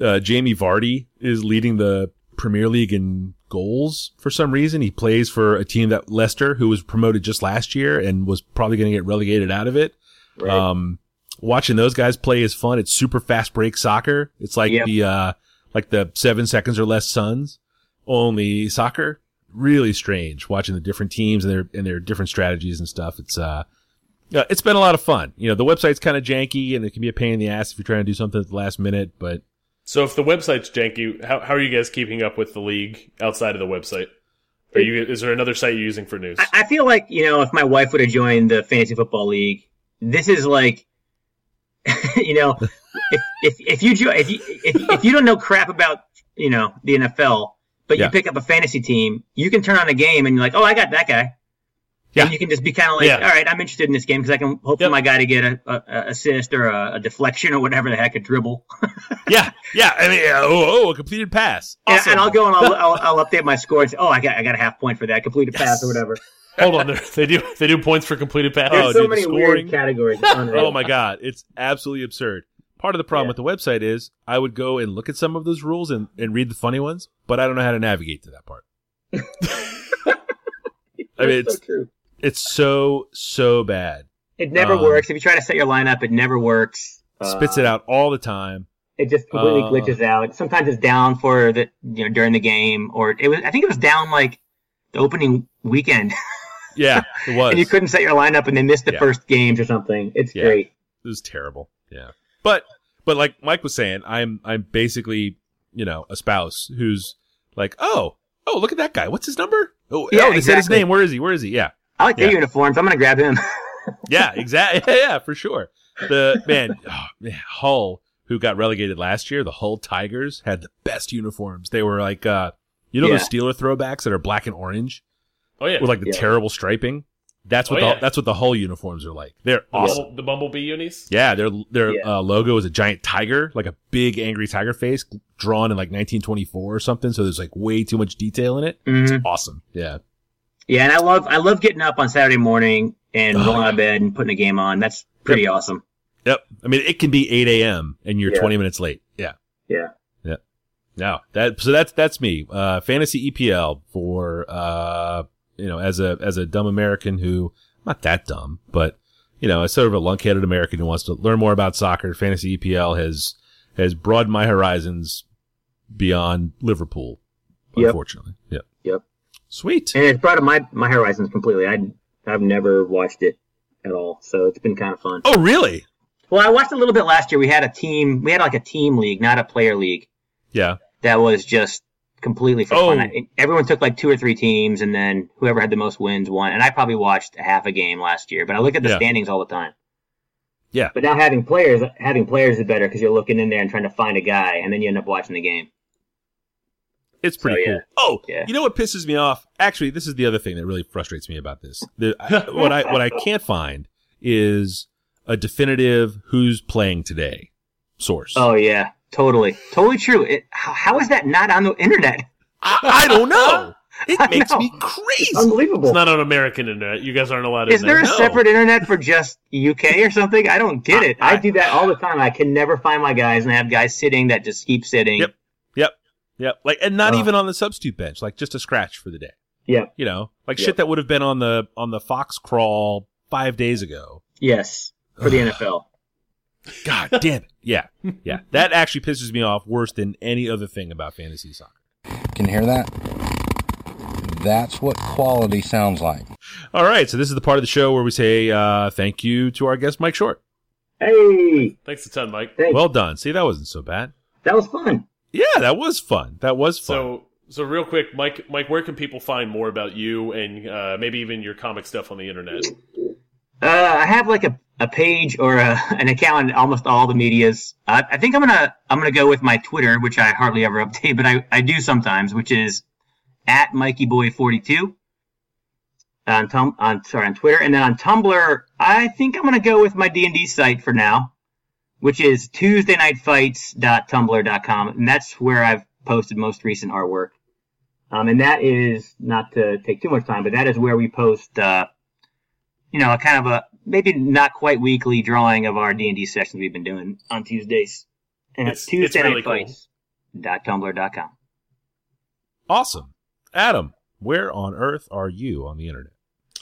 S3: uh, Jamie Vardy is leading the Premier League in goals for some reason. He plays for a team that Leicester, who was promoted just last year and was probably going to get relegated out of it.
S2: right.
S3: Um, watching those guys play is fun. It's super fast break soccer. It's like
S2: Yep.
S3: the uh, like the seven seconds or less Suns, only soccer. Really strange watching the different teams and their and their different strategies and stuff. It's uh, yeah, it's been a lot of fun. You know, the website's kind of janky and it can be a pain in the ass if you're trying to do something at the last minute. But
S1: So if the website's janky, how, how are you guys keeping up with the league outside of the website? Are you is there another site you're using for news?
S2: I, I feel like you know if my wife would have joined the fantasy football league, this is like, you know, if if if you jo- if you if, if you don't know crap about you know the NFL, but
S3: Yeah.
S2: you pick up a fantasy team, you can turn on a game and you're like, oh, I got that guy.
S3: Yeah.
S2: And you can just be kind of like,
S1: Yeah.
S2: all right, I'm interested in this game because I can hope
S1: Yep.
S2: for my guy to get a, a, a assist or a, a deflection or whatever the heck, a dribble.
S3: yeah, yeah, I mean, yeah, oh, oh, a completed pass.
S2: And-
S3: Awesome.
S2: And I'll go and I'll, I'll, I'll update my score and say, oh, I got I got a half point for that, complete a pass or
S3: Yes.
S2: whatever.
S1: Hold on, there- they do they do points for completed passes.
S3: Oh,
S2: There's so
S3: dude, the
S2: many
S3: scoring.
S2: weird categories. It's unreal.
S3: oh my god, it's absolutely absurd. Part of the problem with the website is I would go and look at some of those rules and, and read the funny ones, but I don't know how to navigate to that part. I mean,
S2: That's
S3: it's
S2: so true.
S3: it's so so bad.
S2: It never
S3: Um,
S2: works. If you try to set your lineup, it never works.
S3: Spits it out all the time.
S2: It just completely
S3: Uh,
S2: glitches out. Sometimes it's down for the you know during the game, or it was. I think it was down like the opening weekend,
S3: Yeah, it was.
S2: and you
S3: it
S2: couldn't set your lineup, and they missed the
S3: Yeah.
S2: first games or something. It's
S3: Yeah.
S2: great.
S3: was terrible. Yeah, but but like Mike was saying, I'm I'm basically you know a spouse who's like, oh oh look at that guy. What's his number? Oh,
S2: Yeah,
S3: oh they said his
S2: exactly.
S3: name. Where is he? Where is he? Yeah.
S2: I like their
S3: Yeah.
S2: uniforms. I'm gonna grab him.
S3: yeah, exactly. Yeah, yeah, for sure. The man, oh, man, Hull, who got relegated last year, the Hull Tigers had the best uniforms. They were like, uh, you know,
S2: Yeah.
S3: those Steeler throwbacks that are black and orange
S1: oh yeah,
S3: with like the
S2: Yeah.
S3: terrible striping. That's what
S1: Oh,
S3: the,
S1: yeah.
S3: that's what the Hull uniforms are like. They're
S1: the,
S3: awesome.
S1: Bumble- the bumblebee unis.
S3: Yeah, their their
S2: Yeah.
S3: Uh, logo is a giant tiger, like a big angry tiger face, drawn in like 1924 or something. So there's like way too much detail in it.
S2: Mhm.
S3: Awesome. Yeah.
S4: Yeah, and I love I love getting up on Saturday morning and
S3: Oh,
S4: rolling out of bed and putting a game on. That's pretty awesome.
S3: Yep. I mean, it can be 8 a.m. and you're
S2: Yeah.
S3: 20 minutes late. Yeah.
S2: Yeah.
S3: Yeah. No, that, so that's, that's me. Uh, fantasy EPL for, uh, you know, as a, as a dumb American who, not that dumb, but, you know, as sort of a lunkheaded American who wants to learn more about soccer, fantasy EPL has, has broadened my horizons beyond Liverpool,
S2: Yep.
S3: unfortunately. Yep.
S2: Yep.
S3: Sweet.
S2: And it's brought up my, my horizons completely. I, I've never watched it at all, so it's been kind of fun.
S3: Oh, really?
S4: Well, I watched a little bit last year. We had a team. We had like a team league, not a player league.
S3: Yeah.
S4: That was just completely for
S3: Oh.
S4: fun. I- Everyone took like two or three teams, and then whoever had the most wins won. And I probably watched a half a game last year, but I look at the
S3: Yeah.
S4: standings all the time.
S2: But now having players, having players is better because you're looking in there and trying to find a guy, and then you end up watching the game.
S3: It's pretty
S2: So,
S3: cool.
S2: yeah.
S3: Oh,
S4: Yeah.
S3: you know what pisses me off? Actually, this is the other thing that really frustrates me about this. The, I- what I what I can't find is a definitive who's playing today source.
S4: Oh yeah, totally, totally true. It, how, how is that not on the internet?
S3: I, I don't know.
S4: I
S3: It makes
S4: know. Um,
S3: me crazy.
S2: Unbelievable.
S1: It's not on American internet. You guys aren't allowed.
S4: Is
S1: in
S4: there a
S3: No.
S4: separate internet for just UK or something? I don't get it.
S2: I
S4: I,
S2: do that all the time. I can never find my guys, and I have guys sitting that just keep sitting.
S3: Yep. Yep. Like, and not
S4: uh.
S2: Oh.
S3: even on the substitute bench. Like, just a scratch for the day.
S2: Yep.
S3: You know, like
S2: Yep.
S3: shit that would have been on the on the Fox crawl five days ago.
S2: Yes, for the NFL.
S3: God damn it. Yeah. Yeah. That actually pisses me off worse than any other thing about fantasy soccer.
S5: Can you hear that? That's what quality sounds like.
S3: All right, so this is the part of the show where we say uh, thank you to our guest Mike Short.
S2: Hey,
S1: Thanks a ton, Mike.
S2: thanks.
S3: Well done. See, that wasn't so bad.
S2: that was fun.
S3: Yeah, that was fun. That was fun.
S1: So, so real quick, Mike, Mike, where can people find more about you and uh, maybe even your comic stuff on the internet?
S4: uh, I have like a, a page or a, an account in almost all the media's. Uh, I think I'm gonna I'm gonna go with my Twitter, which I hardly ever update, but I, I do sometimes, which is at MikeyBoy42 on tum on sorry on Twitter, and then on Tumblr, I think I'm gonna go with my D and D site for now, which is TuesdayNightFights.tumblr.com, and that's where I've posted most recent artwork.
S2: Um, and that is not to take too much time, but that is where we post. Uh,
S4: you know, a kind of a maybe not quite weekly drawing of our D and D sessions we've been doing on Tuesdays. And it's,
S1: It's- it's
S4: Tuesday
S1: really
S4: Night Fights dot tumblr dot com.
S3: awesome. Adam, where on earth are you on the internet?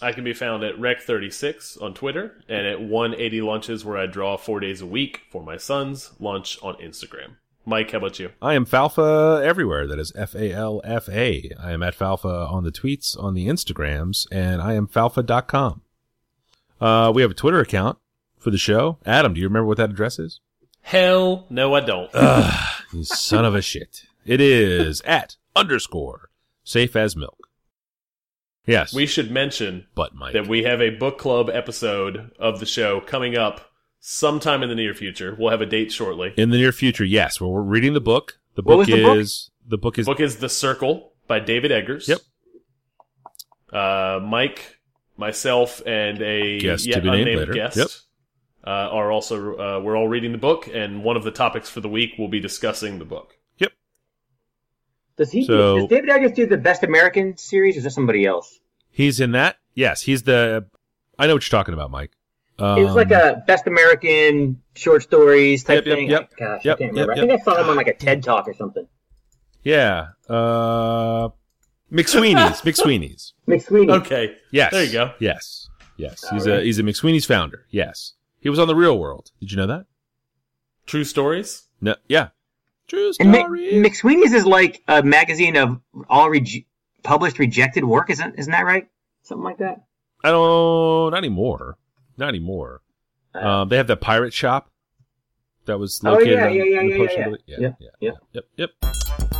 S1: I can be found at Rec36 on Twitter and at 180 Lunches, where I draw four days a week for my sons. Lunch on Instagram. Mike, how about you?
S3: I am Falfa everywhere. That is F A L F A. I am at Falfa on the tweets, on the Instagrams, and I am falfa.com. Uh, we have a Twitter account for the show. Adam, do you remember what that address is?
S1: Hell, no, I don't.
S3: Ugh, you son of a shit. It is at underscore safe as milk. Yes.
S1: We should mention
S3: but Mike.
S1: that we have a book club episode of the show coming up sometime in the near future. We'll have a date shortly.
S3: in the near future, yes. Well, we're reading the book. The
S4: What was
S3: book
S4: the book?
S3: is the book is
S1: The book is The Circle by David Eggers.
S3: Yep.
S1: Uh, Mike, myself, and a
S3: Guest to
S1: yet
S3: be named
S1: unnamed
S3: later.
S1: guest
S3: Yep.
S1: uh, are also uh, we're all reading the book, and one of the topics for the week will be discussing the book.
S2: does he?
S3: So-
S2: does David Eggers do the best American series, or is that somebody else?
S3: he's in that. Yes, he's the. I know what you're talking about, Mike. Um,
S2: It was like a best American short stories type
S3: Yep, yep,
S2: thing.
S3: yep.
S2: Gosh,
S3: Yep,
S2: I can't remember.
S3: yep,
S2: I think I saw him on like a TED talk or something.
S3: yeah. Uh, McSweeney's McSweeney's.
S2: McSweeney.
S1: Okay.
S3: Yes.
S1: There you go.
S3: Yes. Yes.
S2: All
S3: He's a
S2: right.
S3: he's a McSweeney's founder. Yes. He was on the Real World. Did you know that?
S1: True stories.
S3: No. Yeah. True
S4: And Mi-
S3: story.
S4: McSweeney's is like a magazine of all rege published rejected work, isn't isn't that right?
S2: Something like that.
S3: I don't. Not anymore. Not anymore. Um, they have that pirate shop that was
S2: Oh,
S3: located.
S2: yeah,
S3: on
S2: yeah, yeah,
S3: the
S2: yeah,
S3: Post
S2: yeah,
S3: Road.
S2: yeah.
S3: yeah, yeah, Yep. Yep.